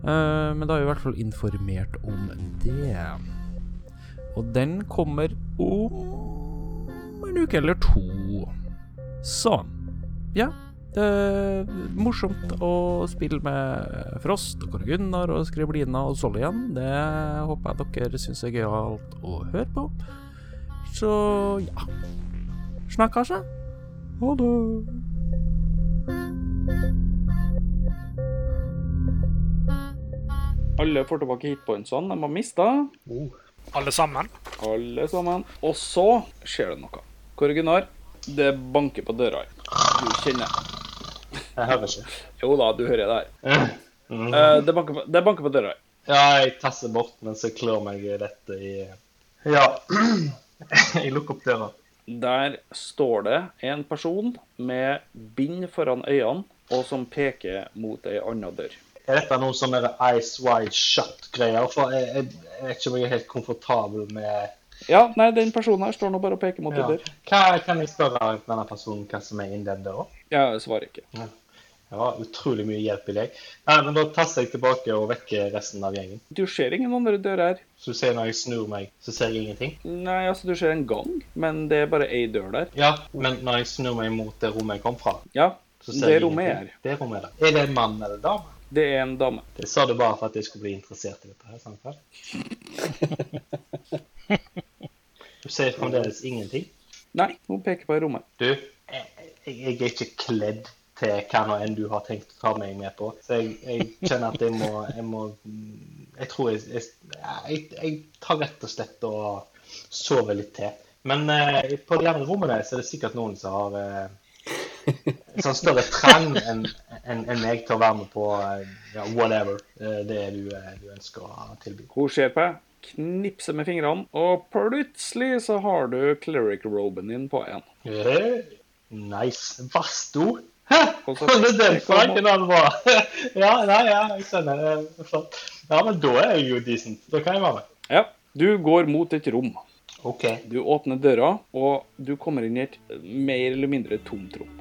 Eh, men da er vi i hvert fall informert om det. Og den kommer om en uke eller to. Sånn. Ja. Det er morsomt å spille med Frost og Kåre Gunnar og Skriblina og Solly igjen. Det håper jeg dere syns er gøyalt å høre på. Så ja Snakkes, da. Ha det. Alle får tilbake hitpointsene de har mista, Oh. Alle sammen. alle sammen. Og så skjer det noe. Kåre Gunnar, det banker på døra. Du kjenner Jeg hører ikke. Jo da, du hører det her. Mm. Eh, det, banker på, det banker på døra. Ja, jeg tasser bort mens jeg klør meg lett i Ja. jeg lukker opp døra. Der står det en person med bind foran øynene, og som peker mot ei anna dør. Er dette noen sånne der eyes wide shut-greier? For jeg, jeg, jeg er ikke om jeg er helt komfortabel med Ja, nei, den personen her står nå bare og peker mot ei ja. dør. Hva kan jeg spørre denne personen hva som er inni den døra? Jeg svarer ikke. Ja, utrolig mye hjelp i lek. Nei, men da tasser jeg tilbake og vekker resten av gjengen. Du ser ingen andre dører her. Så du ser når jeg snur meg, så ser jeg ingenting? Nei, altså, du ser en gang, men det er bare ei dør der. Ja, men når jeg snur meg mot det rommet jeg kom fra, Ja, så ser Det jeg rommet ingenting. Det rommet er der. Er det en mann eller en dame? det er en dame. Det sa du bare for at jeg skulle bli interessert i dette her, sant vel? Du ser fremdeles ingenting. Nei, hun peker på ei rommet. Du, jeg, jeg jeg er ikke kledd til hva nå enn du har tenkt å ta meg med på. Så jeg, jeg kjenner at jeg må Jeg, må, jeg tror jeg, jeg Jeg jeg tar rett og slett og sover litt til. Men eh, på de andre rommene så er det sikkert noen som har eh, sånn større trang enn enn- enn meg til å være med på eh, ja, whatever eh, det er du, eh, du ønsker å tilby. Hun ser på deg, knipser med fingrene, og plutselig så har du cleric-roben din på igjen. Eh, Nice. Vasto. Hæ? Og så- Det er den saken han var. Ja, nei, ja, jeg skjønner. Eh, Flott. Ja, men da er jeg jo decent. Da kan jeg være med. Ja, du går mot et rom. OK. Du åpner døra, og du kommer inn i et mer eller mindre tomt rom.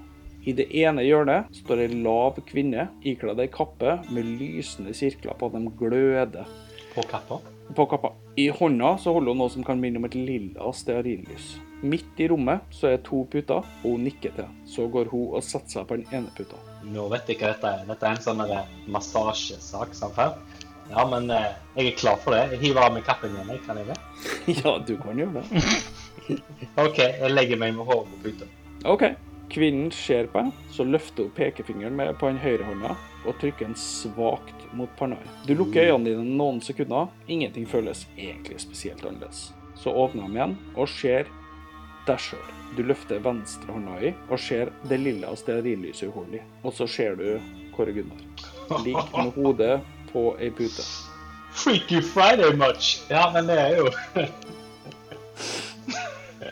I det ene hjørnet står ei lav kvinne ikledd ei kappe med lysende sirkler på at de gløder På kappa. på kappa. I hånda så holder hun noe som kan minne om et lilla stearinlys. Midt i rommet så er to puter, og hun nikker til. Så går hun og setter seg på den ene puta. Nå vet jeg hva dette er. Dette er en sånn der massasjesak. sant vel? Ja, men eh, jeg er klar for det. Jeg hiver av meg kappen igjen. jeg, Kan jeg det? Ja, du kan gjøre det. OK, jeg legger meg med håret på puta. OK. Kvinnen ser på deg, så løfter hun pekefingeren med på den høyre hånda og trykker den svakt mot panna. Du lukker øynene dine noen sekunder. Ingenting føles egentlig spesielt annerledes. Så åpner de igjen og ser deg sjøl. Du løfter venstre hånda i og ser det lilla stearinlyset hun holder i. Og så ser du Kåre Gunnar. Lik med hodet på ei pute. Freaky Friday much. Ja, men det er jo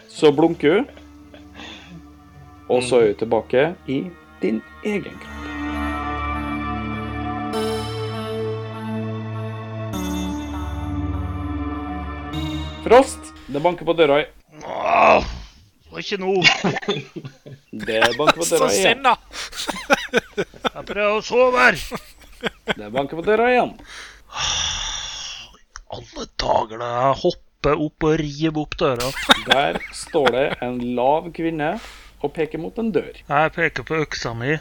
Så blunker hun, og så er hun tilbake i din egen kropp. Frost, det banker på døra. Åh, og ikke nå. Det banker på Så døra igjen. sinna! Jeg prøver å sove her. Det banker på døra igjen. Alle dager da jeg hopper opp og river opp døra. Der står det en lav kvinne og peker mot en dør. Jeg peker på øksa mi,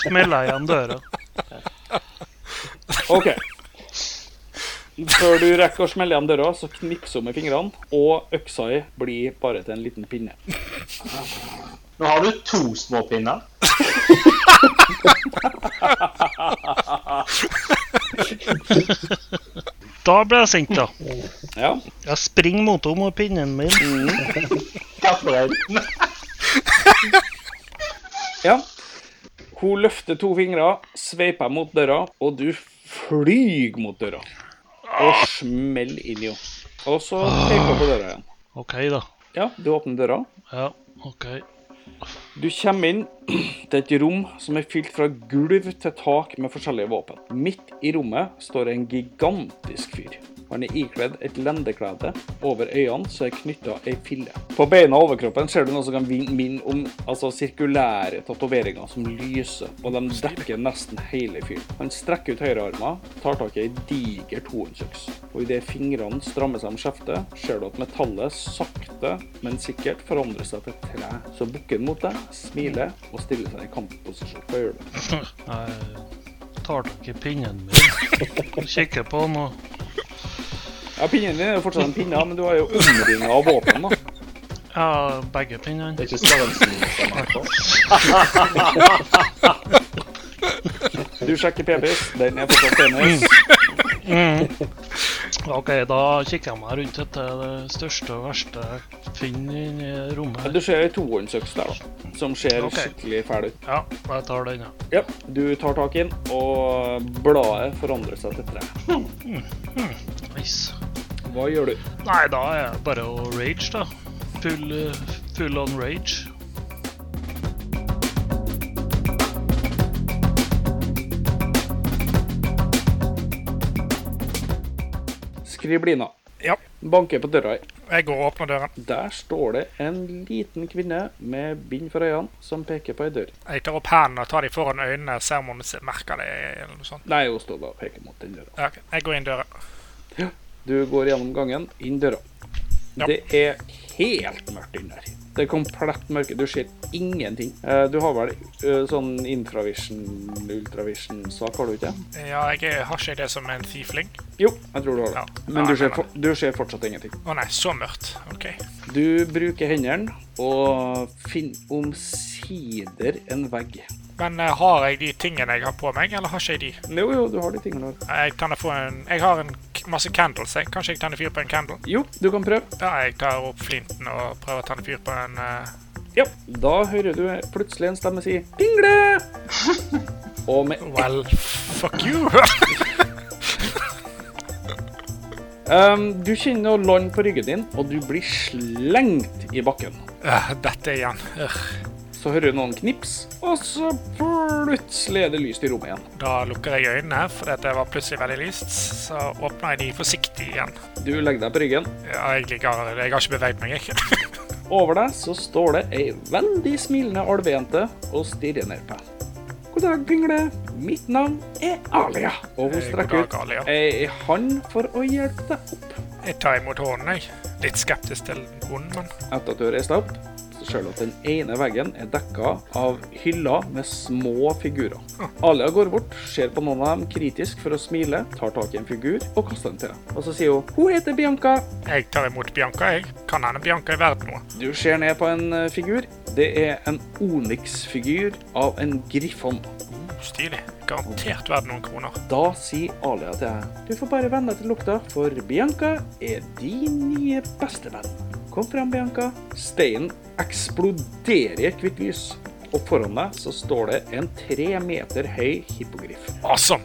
smeller igjen døra. OK. Før du rekker å smelle igjen døra, så knipser hun med fingrene, og øksa di blir bare til en liten pinne. Nå har du to små pinner. Da ble jeg sint, da. Ja. Jeg springer mot henne med pinnen min. Mhm. Hva for en? ja. Hun løfter to fingre, sveiper mot døra, og du flyr mot døra. Og smeller inn i henne. Og så peker hun på døra igjen. OK, da. Ja, du åpner døra. Ja, OK. Du kommer inn til et rom som er fylt fra gulv til tak med forskjellige våpen. Midt i rommet står en gigantisk fyr. Han er ikledd et lendeklede. Over øynene så er knytta ei fille. På beina og overkroppen ser du noe som kan vin- minne om altså, sirkulære tatoveringer som lyser, og de dekker nesten hele fyren. Han strekker ut høyrearmen, tar tak i ei diger tohåndsøks. Og idet fingrene strammer seg om skjeftet, ser du at metallet sakte, men sikkert forandrer seg til tre. Så bukker den mot deg, smiler og stiller seg i kampposisjon. Hva gjør du? Jeg tar tak i pinnen min, kikker på den og Ja, Pinnen din er jo fortsatt en pinne, men du har jo omringa av våpen, da. Ja, begge pinnene. Det er ikke størrelsen som er på. Du sjekker PBS, den er fortsatt penis. Mm. OK, da kikker jeg meg rundt etter det største og verste jeg finner inni rommet. her. Du ser ei tohåndsøks der, da, som ser Ok. skikkelig fæl ut. Ja, jeg tar den, ja. Ja, du tar tak i den, og bladet forandrer seg til tre. Nice. Hva gjør du? Nei, da er det bare å rage, da. Full, eh, full on rage. Skriblina. Ja. Banker på døra. Jeg går og åpner døren. Der står det en liten kvinne med bind for øynene som peker på ei dør. Jeg tar opp hendene og tar dem foran øynene. Ser om hun ser- merker det eller noe sånt. Nei, hun står da og peker mot den døra. Ja, ok. Jeg går inn døren. Du går gjennom gangen, inn døra. Ja. Det er helt mørkt inne der. Det er komplett mørke. Du ser ingenting. Eh, Du har vel eh, sånn infravision, ultravision-sak, har du ikke? Ja, jeg er- har ikke det som en thiefling. Jo, jeg tror du har det. Ja. Men du Nei, ser, nei, for, du ser fortsatt ingenting. Å nei, så mørkt. OK. Du bruker hendene og finner omsider en vegg. Men eh, har jeg de tingene jeg har på meg, eller har ikke jeg de? Eh, Jo, jo, du har de tingene der. Jeg, tenner på en, jeg har en k- masse candles. Jeg. Kanskje jeg tenner fyr på en candle? Jo, du kan prøve. Ja, jeg tar opp flinten og prøver å tenne fyr på en eh, Ja, da hører du plutselig en stemme si «Dingle!» Og med Well, fuck you! Ehm, Du kjenner noe land på ryggen din, og du blir slengt i bakken. Eh, Dette igjen. Ugh. Så hører du noen knips, og så plutselig er det lyst i rommet igjen. Da lukker jeg øynene, for dette var plutselig veldig lyst. Så åpner jeg de forsiktig igjen. Du legger deg på ryggen. Ja, jeg ligger Jeg har ikke beveget meg, jeg. Over deg så står det ei veldig smilende alvejente og stirrer ned på deg. God dag, Dingle. Mitt navn er Alia. Og hun Eh, strekker god dag, Alia. ut ei hånd for å hjelpe deg opp. Jeg tar imot hånden, jeg. Litt skeptisk til hånden, men Etter at du har reist deg opp, så ser du at den ene veggen er dekka av hyller med små figurer. Alia går bort, ser på noen av dem kritisk for å smile, tar tak i en figur og kaster den til deg. Og så sier hun 'Hun heter Bianca'. jeg tar imot Bianca, jeg. Kan hende Bianca er verdt noe. Du ser ned på en eh, figur. Det er en Onyx-figur av en griffon. Uh, Stilig. Garantert verdt noen kroner. Da sier Alia til deg 'Du får bare venne deg til lukta, for Bianca er din nye bestevenn'. Kom fram, Bianca. Steinen eksploderer i et hvitt lys. Og foran deg så står det en tre meter høy hippogriff. Awesome!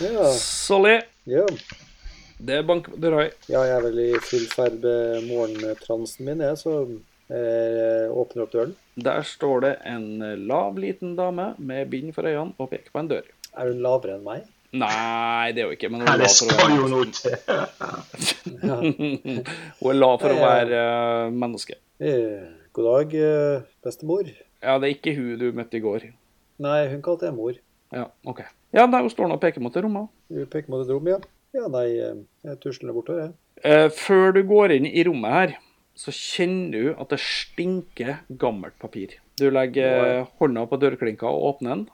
Ja, Solly, ja. det banker på døra. ja, jeg er vel i full ferd med morgentransen min, jeg, så eh, åpner opp døren. Der står det en lav, liten dame med bind for øynene og peker på en dør. Er hun lavere enn meg? Nei, det er jo ikke, men hun Nei, er det lav for å skal være, jo noe til. hun er lav for å Ja, ja. være eh, menneske. Eh, god dag, eh, bestemor. Ja, det er ikke hun du møtte i går. Nei, hun kalte jeg mor. Ja, OK. Ja, der hun står nå og peker mot det rommet. Hun peker mot et rom, ja. Ja, nei, eh, jeg tusler bortover, jeg. Eh, før du går inn i rommet her, så kjenner du at det stinker gammelt papir. Du legger eh, hånda på dørklinka og åpner den,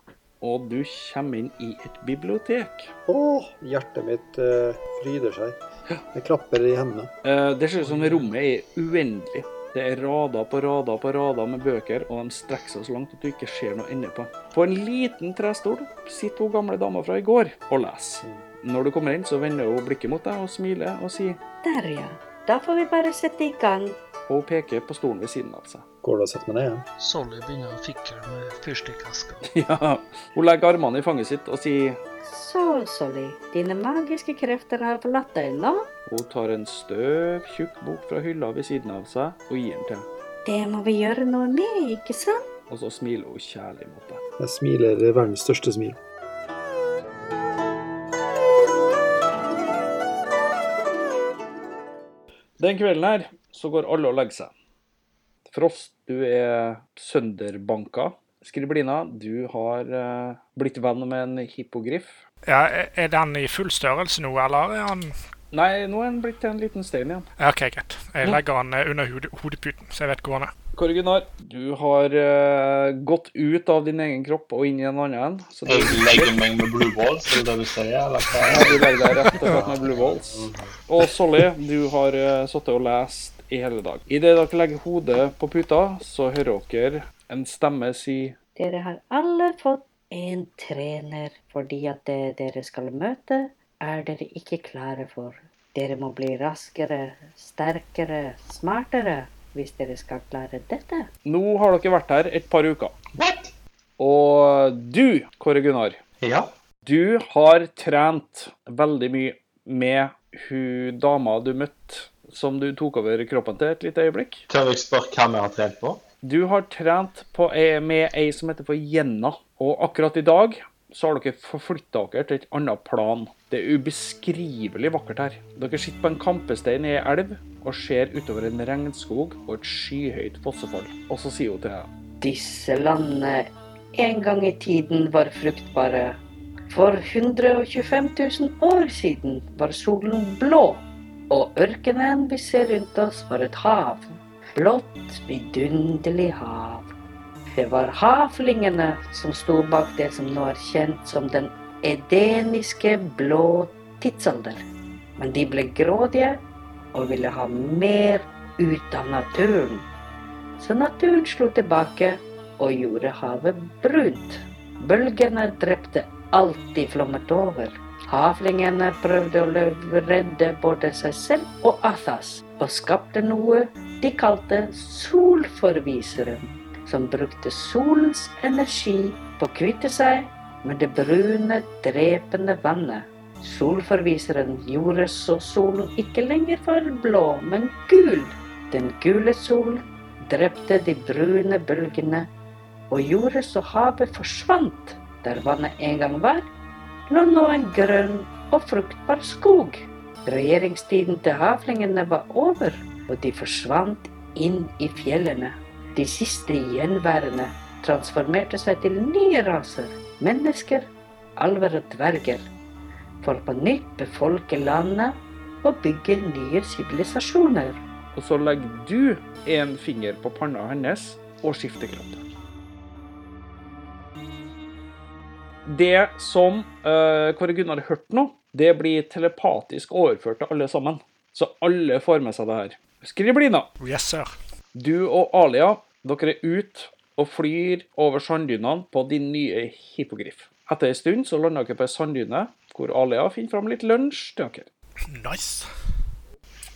og du kommer inn i et bibliotek. Åh, hjertet mitt eh, fryder seg. Det klapper i hendene. Eh, det ser ut som rommet er uendelig. Det er rader på rader på rader med bøker, og de strekker seg så langt at du ikke ser noe ende på. På en liten trestol sitter hun gamle dama fra i går og leser. Når du kommer inn, så vender hun blikket mot deg og smiler og sier Der, ja. Da får vi bare sette i gang. Og hun peker på stolen ved siden av seg. Går det å sette meg ned igjen? Solly begynner å fikle med fyrstikkeska. Ja, Hun legger armene i fanget sitt og sier Så, Solly, dine magiske krefter har forlatt deg nå. Hun tar en støv, tjukk bok fra hylla ved siden av seg og gir den til henne. Det må vi gjøre noe med, ikke sant? Og så smiler hun kjærlig mot deg. Jeg smiler verdens største smil. Den kvelden her så går alle og legger seg. Frost, du er sønderbanka. Skriblina, du har eh, blitt venn med en hippogriff. Ja, er- er den i full størrelse nå, eller er han Nei, nå er han blitt til en liten stein igjen. Ja, OK, greit. Jeg legger han eh, under hode, hodeputen, så jeg vet hvor han er. Kåre Gunnar, du har eh, gått ut av din egen kropp og inn i en annen. Så det Jeg legger meg med blue balls, er det det du sier? Eller hva? Ja, du legger deg rett og slett med Blue Walls. Og Solly, du har uh, sittet og lest i hele dag. Idet dere legger hodet på puta, så hører dere en stemme si Dere har alle fått en trener, fordi at det dere skal møte, er dere ikke klare for. Dere må bli raskere, sterkere, smartere hvis dere skal klare dette. Nå har dere vært her et par uker. What? Og du, Kåre Gunnar, Ja. du har trent veldig mye med hun dama du møtte, som du tok over kroppen til et lite øyeblikk. Tør jeg spørre hva vi har trent på? Du har trent på, eh, med ei som heter for Jenna, og akkurat i dag så har dere forflytta dere til et annet plan. Det er ubeskrivelig vakkert her. Dere sitter på en kampestein i ei elv og ser utover en regnskog og et skyhøyt fossefall. Og så sier hun til deg Disse landene eh, en gang i tiden var fruktbare. For 125 000 år siden var solen blå, og ørkenen vi ser rundt oss var et hav. Blått, vidunderlig hav. Det var havlingene som sto bak det som nå er kjent som den edeniske blå tidsalder. Men de ble grådige og ville ha mer ut av naturen. Så naturen slo tilbake og gjorde havet brunt. Bølgene drepte alt de flommet over. Havlingene prøvde å lø- redde både seg selv og Athas, og skapte noe de kalte solforviseren, som brukte solens energi på å kvitte seg med det brune, drepende vannet. Solforviseren gjorde så solen ikke lenger var blå, men gul. Den gule solen drepte de brune bølgene og gjorde så havet forsvant. Der vannet en gang var, lå nå en grønn og fruktbar skog. Regjeringstiden til havlingene var over, og de forsvant inn i fjellene. De siste gjenværende transformerte seg til nye raser, mennesker, alver og dverger, for på nytt befolke landet og bygge nye sivilisasjoner. Og så legger du en finger på panna hennes og skifter kropp. Det som eh, Kåre Gunnar hørte nå, det blir telepatisk overført til alle sammen. Så alle får med seg det her. Skriblina, Yes, sir. du og Alia, dere er ute og flyr over sanddynene på din nye hippogriff. Etter en stund så lander dere på ei sanddyne hvor Alia finner fram litt lunsj til dere. Nice.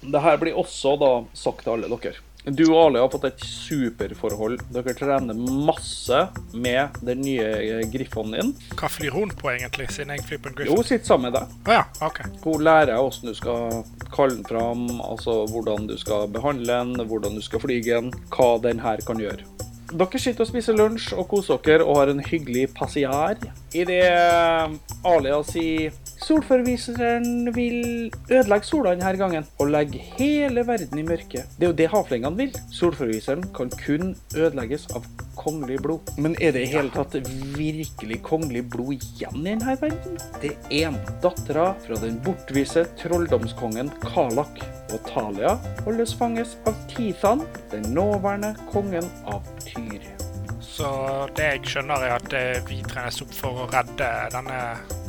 Det her blir også da sagt til alle dere. Du og Ali har fått et superforhold. Dere trener masse med den nye eh, griffonen din. Hva flyr hun på, egentlig, siden jeg flyr på en Jo, griffon? sitter sammen med deg. Å ja, OK. Hun lærer deg hvordan du skal kalle den fram, altså hvordan du skal behandle den, hvordan du skal flyge den, hva den her kan gjøre. Dere sitter og spiser lunsj og koser dere og har en hyggelig passiar. eh, Idet Alia sier Solforviseren vil ødelegge sola denne gangen og legge hele verden i mørke. Det er jo det havflengene vil. Solforviseren kan kun ødelegges av kongelig blod. Men er det i hele tatt virkelig kongelig blod igjen i denne verden? Det er en dattera fra den bortvise trolldomskongen Kalak. Og Thalia holdes fanges av Tithan, den nåværende kongen av Tyr. Så det jeg skjønner, er at eh, vi trenes opp for å redde denne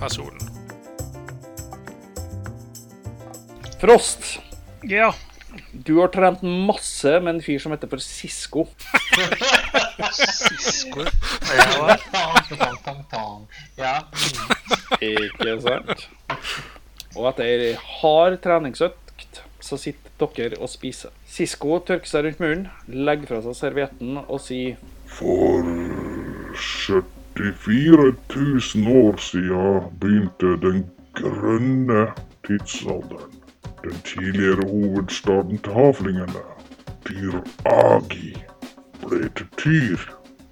personen. Frost, Ja. du har trent masse med en fyr som heter for Sisko. Sisko. Tang, tang, tang. Ja. Ikke sant? Og etter ei hard treningsøkt så sitter dere og spiser. Sisko tørker seg rundt muren, legger fra seg servietten og sier For 74 000 år siden begynte den grønne tidsalderen. Den tidligere hovedstaden til havlingene, Tyr-Agi, ble til Tyr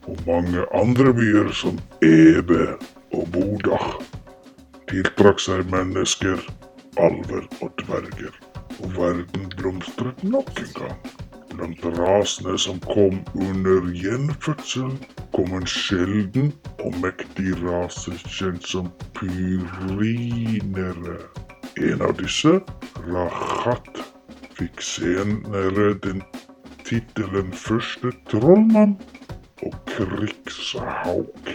og mange andre byer som Ebe og Bodach. Tiltrakk seg mennesker, alver og dverger, og verden blomstret nok en gang. Blant rasene som kom under gjenfødsel, kom en sjelden og mektig rase kjent som pyrinere. En av disse, Rahat, fikk senere den tittelen første trollmann og krigshauk.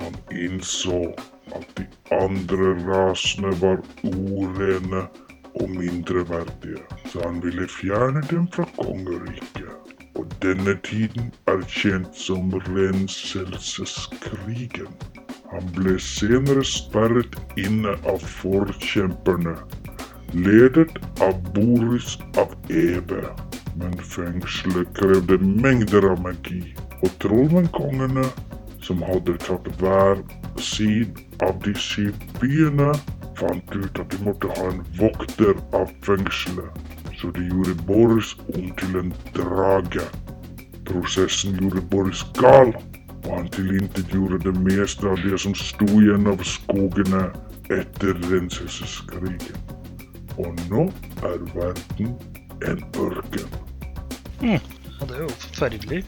Han innså at de andre rasene var urene um og mindreverdige, så han ville fjerne dem fra kongeriket. Og denne tiden er kjent som renselseskrigen. Han ble senere sperret inne av forkjemperne, ledet av Boris av Ebe. Men fengselet krevde mengder av magi, og trollmennkongene, som hadde tatt hver sin av de syv byene, fant ut at de måtte ha en vokter av fengselet, så de gjorde Boris om til en drage. Prosessen gjorde Boris gal, og han tilintetgjorde det meste av det som sto igjen av skogene etter renselseskrigen. Og nå er verden en ørken. Mm. Og det er jo forferdelig.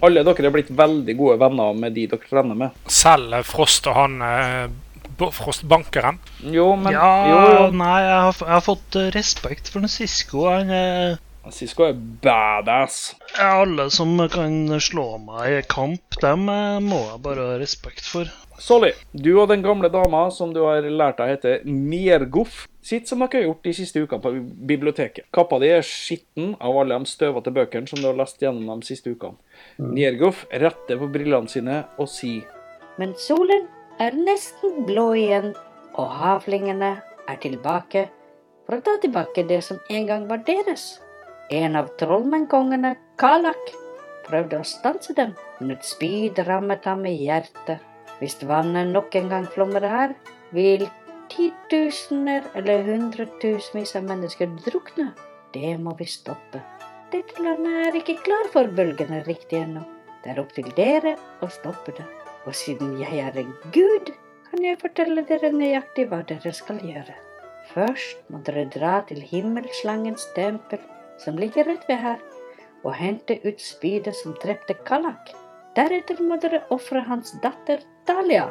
alle dere er blitt veldig gode venner med de dere trener med. Selv eh, Frost og han eh, Bo- Frostbankeren. Jo, men ja, jo, jo. nei, jeg har, jeg har fått eh, respekt for den Sisko. Han eh, Sisko er badass. Alle som kan slå meg i kamp, dem eh, må jeg bare ha respekt for. Solly, du og den gamle dama som du har lært deg heter Niergoff, sitter som dere har gjort de siste ukene på biblioteket. Kappa di er skitten av alle de støvete bøkene som du har lest gjennom de siste ukene. Niergoff retter på brillene sine og sier Men solen er nesten blå igjen, og havlingene er tilbake for å ta tilbake det som en gang var deres. En av trollmennkongene, Kalak, prøvde å stanse dem, men et spyd rammet ham i hjertet. Hvis vannet nok en gang flommer her, vil titusener eller hundretusenvis av mennesker drukne. Det må vi stoppe. Dette landet er ikke klar for bølgene riktig ennå. Det er opp til dere å stoppe det. Og siden jeg er en gud, kan jeg fortelle dere nøyaktig hva dere skal gjøre. Først må dere dra til himmelslangens tempel, som ligger rett ved her, og hente ut spydet som drepte Kalak. Deretter må dere ofre hans datter Dalia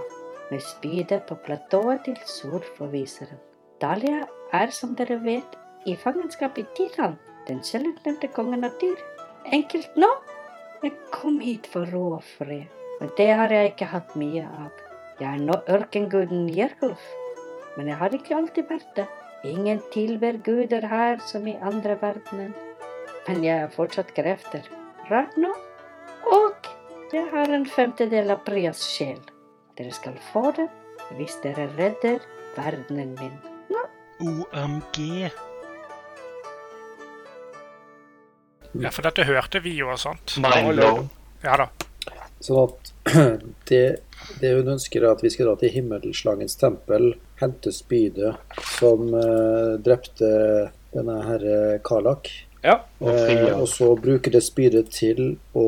med spydet på platået til solforviseren. Dalia er, som dere vet, i fangenskap i Tiran, den selvutnevnte kongen av dyr. Enkelt nå? Jeg kom hit for ro og fred. Men det har jeg ikke hatt mye av. Jeg er nå ørkenguden Jerkulf, men jeg har ikke alltid vært det. Ingen tilber guder her som i andre verdenen. Men jeg har fortsatt krefter. Rart nå. Og jeg har en femtedel av Prias sjel. Dere skal få det hvis dere redder verdenen min. OMG. Ja, for dette hørte vi jo og sånt. Mind blow. Ja da. Sånn at det, det hun ønsker er at vi skal dra til himmelslangens tempel, hente spydet som eh, drepte denne herre Karlak, Ja. Og frigjør. Eh, og så bruker det spydet til å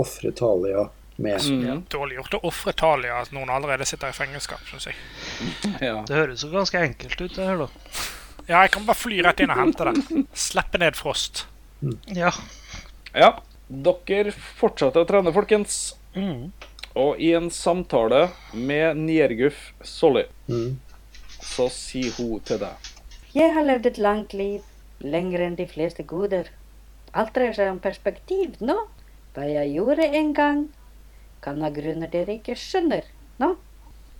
ofre Thalia med. Mm. Dårlig gjort å ofre Thalia at noen allerede sitter i fangenskap, syns jeg. ja. Det høres jo ganske enkelt ut, det her, da. Ja, jeg kan bare fly rett inn og hente den. Slippe ned Frost. Ja. ja. Dere fortsetter å trene, folkens. Mm. Og i en samtale med Nierguf Solly, Mm. så sier hun til deg Jeg har levd et langt liv, lenger enn de fleste goder. Alt dreier seg om perspektiv nå. Hva jeg gjorde en gang, kan ha grunner dere ikke skjønner nå.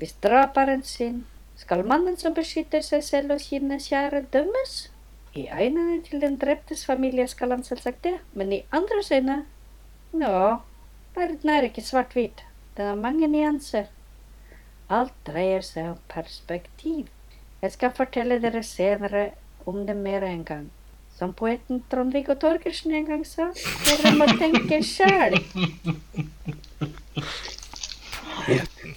Hvis drap er en synd, skal mannen som beskytter seg selv og sine kjære dømmes? I øynene til den dreptes familie skal han selvsagt det, men i andres øyne Nå, verden er ikke svart-hvit. Den har mange nyanser. Alt dreier seg om perspektiv. Jeg skal fortelle dere senere om det mer en gang. Som poeten Trond-Viggo Torgersen en gang sa, dere må tenke sjæl.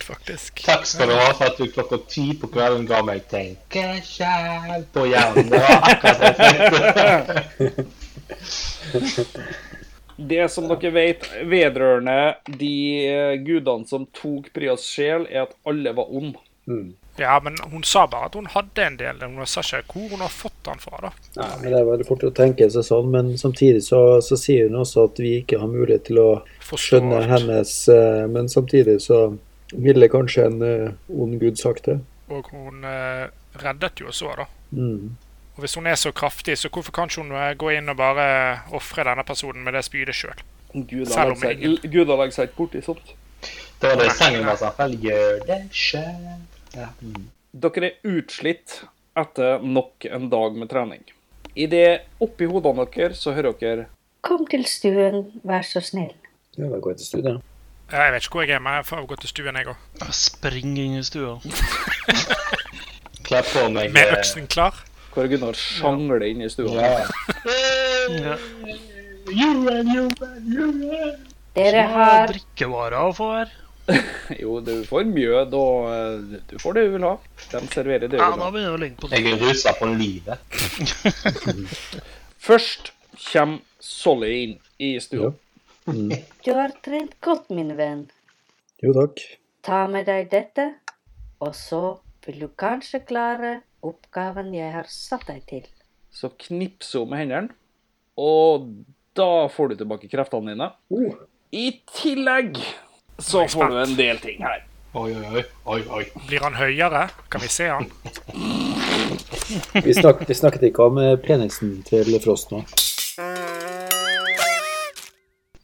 Faktisk. Takk skal du ha for at du klokka ti på kvelden ga meg 'tenke sjæl' på hjernen. Det var akkurat det jeg trengte. Det som dere vet vedrørende de eh, gudene som tok Prias sjel, er at alle var ond. Mm. Ja, men hun sa bare at hun hadde en del. Hun sa ikke hvor hun har fått den fra, da. Nei, men Det er veldig fort å tenke seg sånn, men samtidig så, så sier hun også at vi ikke har mulighet til å Forstå skjønne alt. hennes eh, Men samtidig så ville kanskje en eh, ond gud sagt det. Og hun eh, reddet jo oss òg, da. Mm. Og hvis hun er så kraftig, så hvorfor kan ikke hun eh, gå inn og bare eh, ofre denne personen med det spydet sjøl? Gudene Selv om legger seg- ingen- gudene legger seg ikke borti sånt. Det var det sangen var sånn. Vel, gjør det sjæl. Mm. Dere er utslitt etter nok en dag med trening. I det oppi hodene deres så hører dere Kom til stuen, vær så snill. Ja, da går jeg til studiet. Jeg vet ikke hvor jeg er, men jeg får gå til stuen, jeg òg. Spring inn i stua. Kle på meg Med eh, øksen klar. hvor Gunnar sjangler inn i stua. Ja. Ja. Julen, julen, julen. Dere Hva har drikkevarer å få her? Jo, du får mjød, og eh, du får det du vil ha. De serverer det du Ja, vil da ha. begynner vi å ligge på Jeg er rusa på livet. Først kommer Solly inn i stua. Ja. Mm. Du har trent godt, min venn. Jo takk. Ta med deg dette, og så vil du kanskje klare oppgaven jeg har satt deg til. Så knipser hun med hendene, og da får du tilbake kreftene dine. Oh. I tillegg så får du en del ting her. Oi, oi, oi. oi, oi. Blir han høyere? Kan vi se han? Vi, snak, vi snakket ikke om eh, penisen til Frost nå.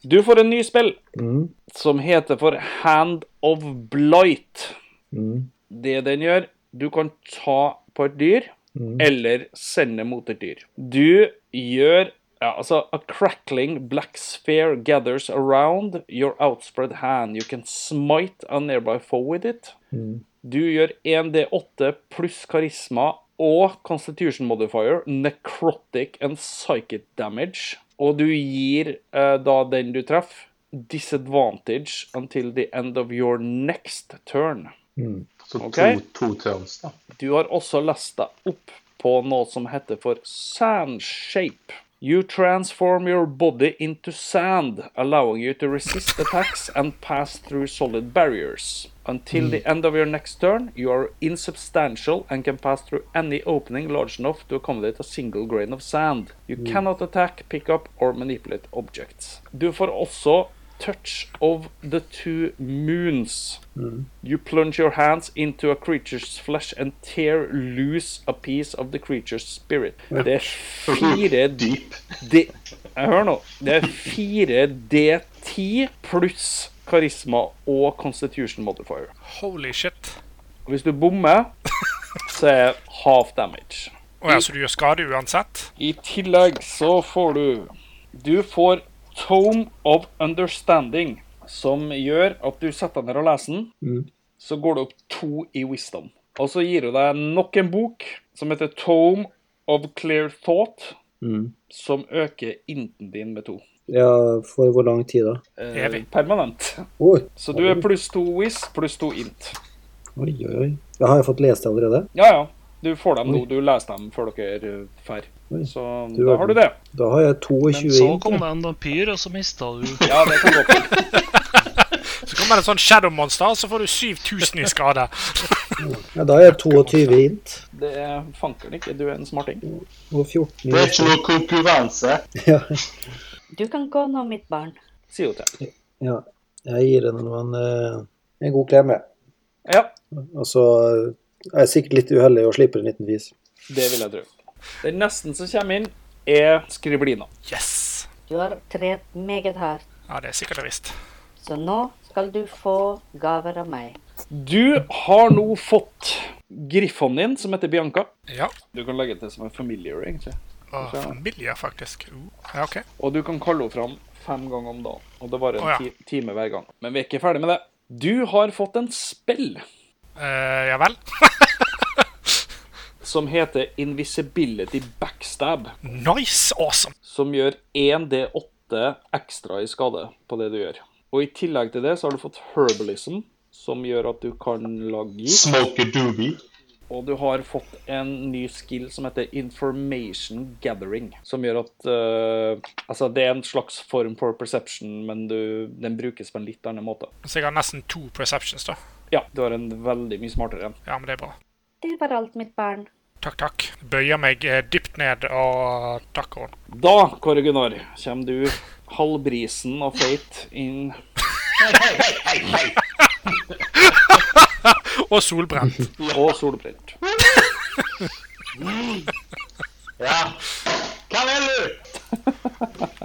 Du får en ny spill Mm. som heter for Hand of Blight. Mm. Det den gjør, du kan ta på et dyr, Mm. eller sende mot et dyr. Du gjør ja, altså A crackling black sphere gathers around your outspread hand. You can smite a nearby foe with it. Mm. Du gjør 1D8 pluss karisma og constitution modifier, necrotic and psychic damage. Og du gir eh, da den du treffer, disadvantage until the end of your next turn. Mm. Så Ok. to, to turns, da. Du har også lest deg opp på noe som heter for sandshape. You transform your body into sand, allowing you to resist attacks and pass through solid barriers. Until the end of your next turn, you are insubstantial and can pass through any opening large enough to accommodate a single grain of sand. You cannot attack, pick up or manipulate objects. Du får også touch of the two moons. You plunge your hands into a creature's flesh and tear loose a piece of the creature's spirit. Det er fire d... Dyp. d- Hør nå. Det er fire D10 pluss karisma og constitution modifier. Holy shit. Og Hvis du bommer, så er half damage. Å ja, så du gjør skade uansett? I tillegg så får du Du får Tome of Understanding, som gjør at du setter deg ned og leser den. Mm. Så går det opp to i Wisdom. Og så gir hun deg nok en bok som heter Tome of Clear Thought, Mm. som øker inten din med to. Ja, for hvor lang tid da? Eh, Evig. permanent. Oi, Så du er pluss to Wiz, pluss to int. oi, oi. oi. Ja, har jeg fått lest det allerede? Ja, ja. Du får dem nå. Du leser dem før dere drar. Oi. Så Du da verden. har du det. Da har jeg 22 Men så inn. kom det en vampyr, og så mista du Ja, det kan gå på. Så kommer det en sånn shadow monster, og så får du 7000 i skade. Ja, da er jeg 22 int. Det er fankeren ikke. Du er en smarting. Og 14 Det er ikke int. noe konkurranse. Ja, Du kan gå nå, mitt barn. Sier du til. ja. Jeg gir henne nå en, eh, en god klem, jeg. Ja, Og så er jeg sikkert litt uheldig og slipper en liten fis. det vil jeg tro. Den nesten som kommer inn, er skriblina. Yes. Du har trent meget hardt, Ja, det er sikkert og visst. så nå skal du få gaver av meg. Du har nå fått griffonen din, som heter Bianca. Ja. Du kan legge til som en familiar, egentlig. Og familie, faktisk. Uh, ja, OK. Og du kan kalle henne fram fem ganger om dagen. Og det varer en Å, ja. ti time hver gang. Men vi er ikke ferdig med det. Du har fått en spill Eh, ja vel. som heter Invisibility Backstab, Nice! Awesome! som gjør 1D8 ekstra i skade på det du gjør. Og i tillegg til det så har du fått Herbalism, som gjør at du kan lage gift. Smoke a doobie. Og du har fått en ny skill som heter Information Gathering, som gjør at eh, Altså, det er en slags form for perception, men du, den brukes på en litt annen måte. Så jeg har nesten to perceptions, da. Ja, du har en veldig mye smartere en. Ja, men det er bra. Det var alt, mitt barn. Takk, takk. Bøyer meg eh, dypt ned og takker henne. Da, Kåre Gunnar, kommer du halvbrisen og feit inn Og solbrent. og solbrent. Ja. Hva vil du?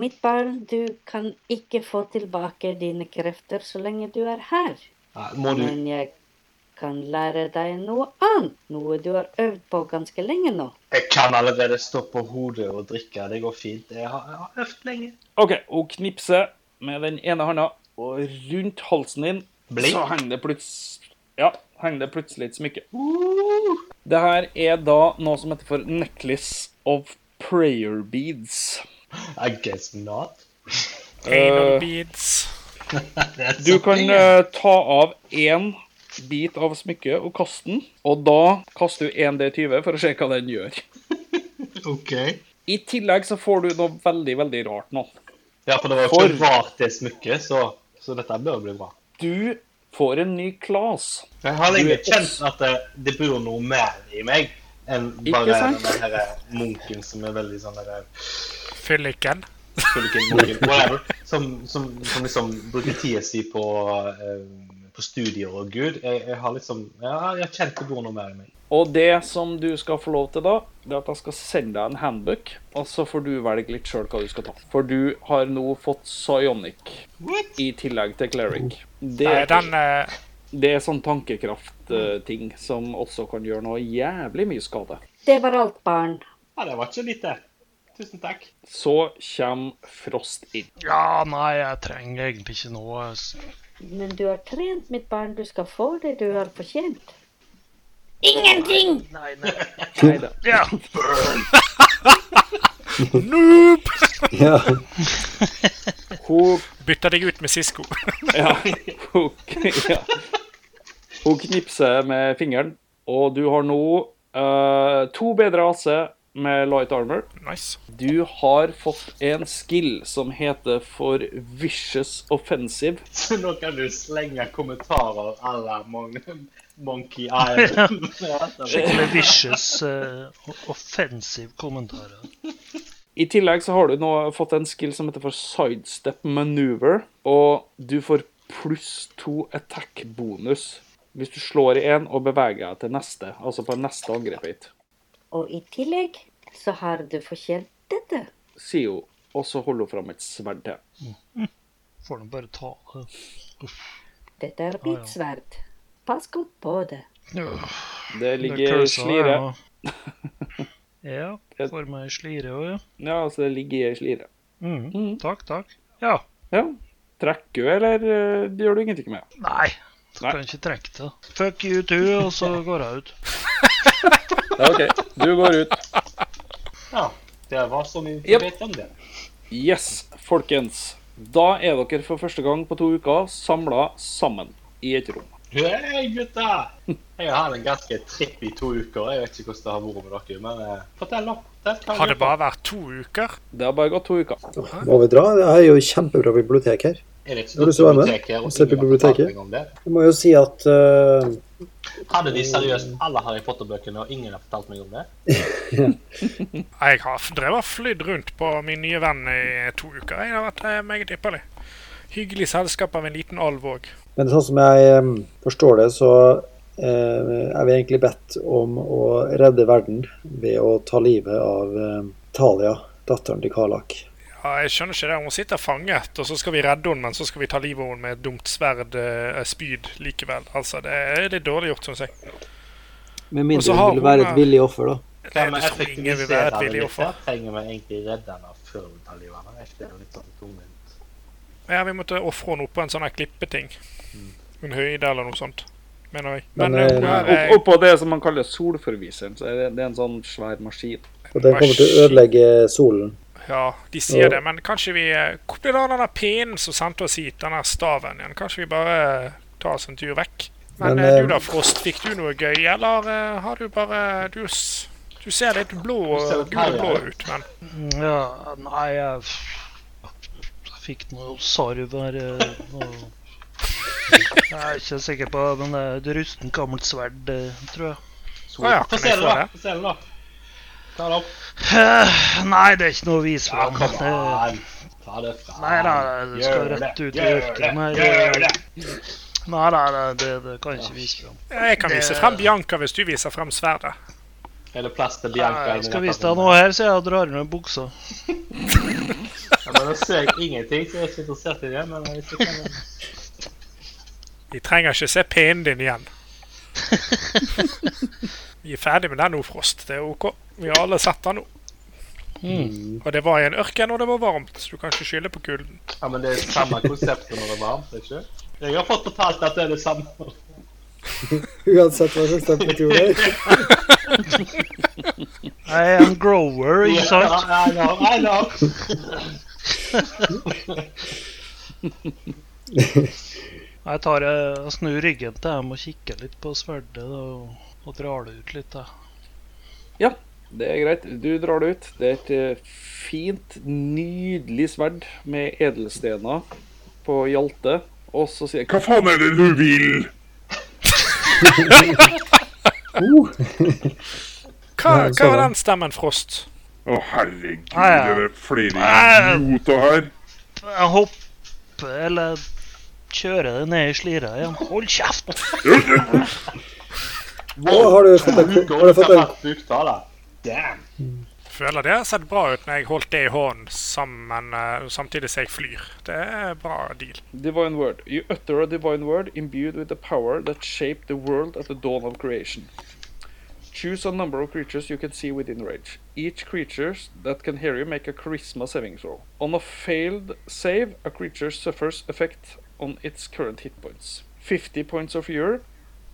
Mitt barn, du kan ikke få tilbake dine krefter så lenge du er her. Nei, må du Men jeg kan lære deg noe annet, noe du har øvd på ganske lenge nå. Jeg kan allerede stå på hodet og drikke. Det går fint. Jeg har, jeg har øvd lenge. OK, hun knipser med den ene handa, og rundt halsen din Blink. så henger det plutselig Ja, henger det plutselig et smykke. Det her er da noe som heter for Necklace of Prayer Beads. Eh, I guess not. Eh. Anal beads. Du kan eh, ta av én bit av smykket og kaste den, og da kaster du 1D20 for å se hva den gjør. OK. I tillegg så får du noe veldig, veldig rart nå. Ja, for det var jo For- ikke rart det smykket, så, så dette bør bli bra. Du får en ny klas. Jeg har lenge Du er kjent at det, det bor noe mer i meg enn Ikke bare sant? den her munken som er veldig sånn der Fylliken. Fylken, munken, whatever. Som, som, som liksom bruker tida si på, eh, på studier og Gud. Jeg, jeg har liksom ja, Jeg har kjent det bor noe mer i meg. Og det som du skal få lov til da, det er at jeg skal sende deg en handbook, og så får du velge litt sjøl hva du skal ta. For du har nå fått psionic i tillegg til cleric. Det, Oh. Nei, den eh, det er sånn tankekraft-ting som også kan gjøre noe jævlig mye skade. Det var alt, barn. Ja, det var ikke lite. Tusen takk. Så kommer Frost inn. Ja, nei, jeg trenger egentlig ikke noe s- Men du har trent, mitt barn. Du skal få det du har fortjent. Nei, nei. Neida. Ja. Noob! Ja. Hun Bytter deg ut med Sisko. Ja. Hun, ja. Hun knipser med fingeren, og du har nå eh, to bedre AC med light armor. Nice. Du har fått en skill som heter for vicious offensive. Så nå kan du slenge kommentarer à la Mon Monkey Island. Ja, det Skikkelig vicious, eh, offensive kommentarer. I tillegg så har du nå fått en skill som heter for sidestep maneuver, og du får pluss to attack-bonus hvis du slår i en og beveger deg til neste, altså på neste angrep hit, Og i tillegg så har du fortjent dette. sier hun, og så holder hun fram et sverd til. Får nå bare ta det. Ah, Dette er mitt sverd. Pass godt på det. Det Det ligger i cursa der, slire. ja. Ja, får meg slire òg, ja. Ja, altså det ligger i slire. Mm. Mhm, Takk, takk. Ja. Ja. Trekker du, eller eh, gjør du ingenting med? Nei, du Nei. kan ikke trekke det. Fuck you too, og så går jeg ut. Ja, OK. Du går ut. ja, det var så mye Jep. yep. vet om det. Yes, folkens. Da er dere for første gang på to uker samla sammen i et rom. Hei, gutter! Jeg har hatt en ganske tripp i to uker. Jeg vet ikke hvordan det har vært med dere, men eh, fortell, da. Fortell hva Har det dere- bare vært to uker? Det har bare gått to uker. Må vi dra? Det er jo kjempebra bibliotek her. Er det ikke Har du noe så med? bibliotek her? og Se på ingen har fortalt biblioteket. meg om det? Jeg må jo si at eh, Hadde de seriøst alle Harry Potter-bøkene, og ingen har fortalt meg om det? Jeg har f- drevet og flydd rundt på min nye venn i to uker. Jeg har vært eh, meget ypperlig. Hyggelig selskap av en liten alv òg. Men sånn som jeg eh, forstår det, så eh, er vi egentlig bedt om å redde verden ved å ta livet av eh, Talia, datteren til Karlak. Ja, jeg skjønner ikke det. Hun sitter fanget, og så skal vi redde henne, men så skal vi ta livet av henne med et dumt sverd, eh, spyd, likevel. Altså, det er litt dårlig gjort, syns jeg. Med Og så mindre har hun vil være hun, et eh, villig offer, da. Nei, Hvem det tror jeg ingen vil være et effektiviserer villig litt offer. her? Trenger vi egentlig redde henne før vi tar livet av henne? Er ikke det litt sånn tungvint? Ja, vi måtte ofre henne oppå en sånn her klippeting. En høyde eller noe sånt, mener jeg. Men, Men eh, hun eh, her Opp, er oppå det som man kaller solforviseren, så er det, det er en sånn svær maskin. Og den kommer til å ødelegge solen. Ja, de sier det, men kanskje vi eh, Hvor ble det av den der pinnen som sendte oss hit, den der staven igjen? Kanskje vi bare eh, tar oss en tur vekk? Men, Men, eh, eh, du da, Frost, fikk du noe gøy, eller eh, har du bare Du, s- du ser litt blå Du ser og litt gul og blå herlig ut, men Ja, nei, jeg jeg fikk noe sarv her. eh, og- Jeg er ikke sikker på, men det er et rustent, gammelt sverd, eh, tror jeg. Å ja, Få kan se jeg det, få da. det? Få se det, da. Ta det opp. Eh, Nei, det er ikke noe å vise Ja, fram. kom Det- an. Ta det fra Nei da, det skal Gjør rett det, ut i gjør ørkenen her. det, Gjør det! Nei, nei, nei, det, det kan jeg ikke vise fram. Eh, Jeg kan Det- vise frem Bianca hvis du viser frem sverdet. Er det plass til Bianca? Nei, inni Jeg skal dette vise deg rommet? noe her, så jeg og drar med buksa. Ja, men Nå ser jeg ingenting, så jeg er ikke interessert i det. Men hvis du kan Vi trenger ikke se pinnen din igjen. Vi er ferdig med den nå, Frost. Det er OK. Vi har alle sett den nå. Hmm. Og det var i en ørken, og det var varmt, så du kan ikke skylde på kulden. Ja, men det er samme konseptet når det er varmt, ikke Jeg har fått fortalt at det er det samme. Uansett hva slags temperatur det er. Jeg er en grower, ikke sant? Ja, I know, I know. Jeg tar, eh, jeg snur ryggen til dem og kikker litt på sverdet da, og, og drar det ut litt. da. Det er greit. Du drar det ut. Det er et eh, fint, nydelig sverd med edelstener på Hjalte. Og så sier jeg Hva faen er det du vil? Hva, Ja, jeg hva så var den. den stemmen, Frost? Å, herregud, Ah, ja. det er flere Ah. idioter her. Jeg hopper eller kjører det ned i slira igjen. Hold kjeft! Å, har du fått en, Uker har du fått en tatt buktale. Damn. Føler det har sett bra ut når jeg holdt det i hånden sammen, eh, samtidig som jeg flyr. Det er bra deal. Divine word. You utter a divine word imbued with the power that shaped the world at the dawn of creation. Choose a number of creatures you can see within range. Each creature that can hear you make a charisma saving throw. On a failed save, a creature suffers effect on its current hit points. 50 points or fewer,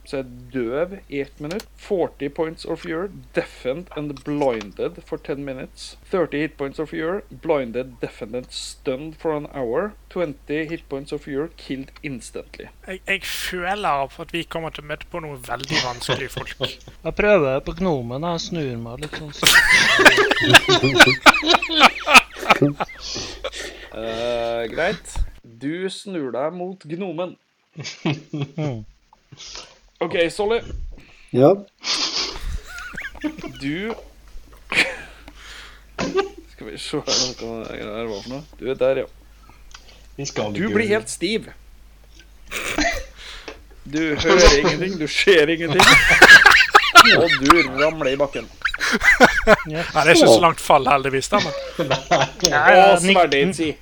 så er døv i ett minutt. 40 points or fewer, deafened and blinded for 10 minutes. 30 hit points or fewer, blinded, deafened and stunned for an hour. 20 hit points or fewer, killed instantly. Jeg, jeg føler at vi kommer til å møte på noen veldig vanskelige folk. Jeg prøver på gnomen. Jeg snur meg litt sånn. Eh, greit. Du snur deg mot gnomen. OK, Solly. Ja. Du Skal vi se her nå, hva det her var for noe. Du er der, ja. Vi skal Du blir helt stiv. Du hører ingenting, du ser ingenting. Og du ramler i bakken. Nei, det er ikke så langt fall, heldigvis. da, men Og sverdet ditt sier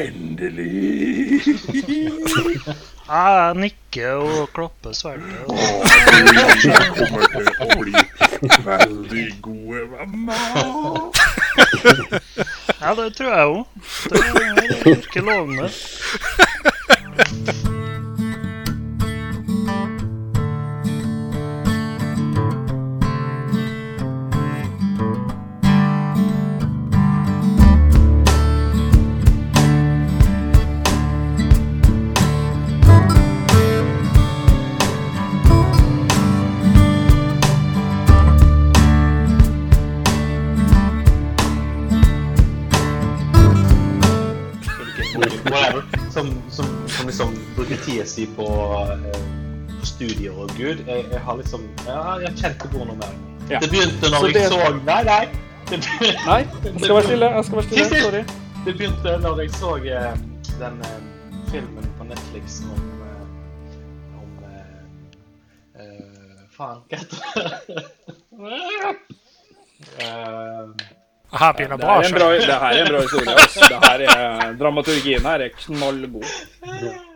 Ah, Jeg nikker og klapper sverdet. og- Jeg kommer til å bli veldig gode venner. Ja, det tror jeg òg. Det virker lovende. som, som liksom bruker tida si på eh, studier og Gud. Jeg, jeg har liksom Ja, jeg kjente på noe mer. Ja. Det begynte Så når det- jeg så Nei, nei. Det begynte, Nei, jeg skal være stille. Jeg skal være Sitt stille. still! Sorry. det begynte når jeg så eh, den eh, filmen på Netflix om eh, om eh, eh, Faen, hva heter det? Eh, Her begynner Det her bra. er en bra, det her er en bra historie. Altså. Det her er, dramaturgien her er knallgod.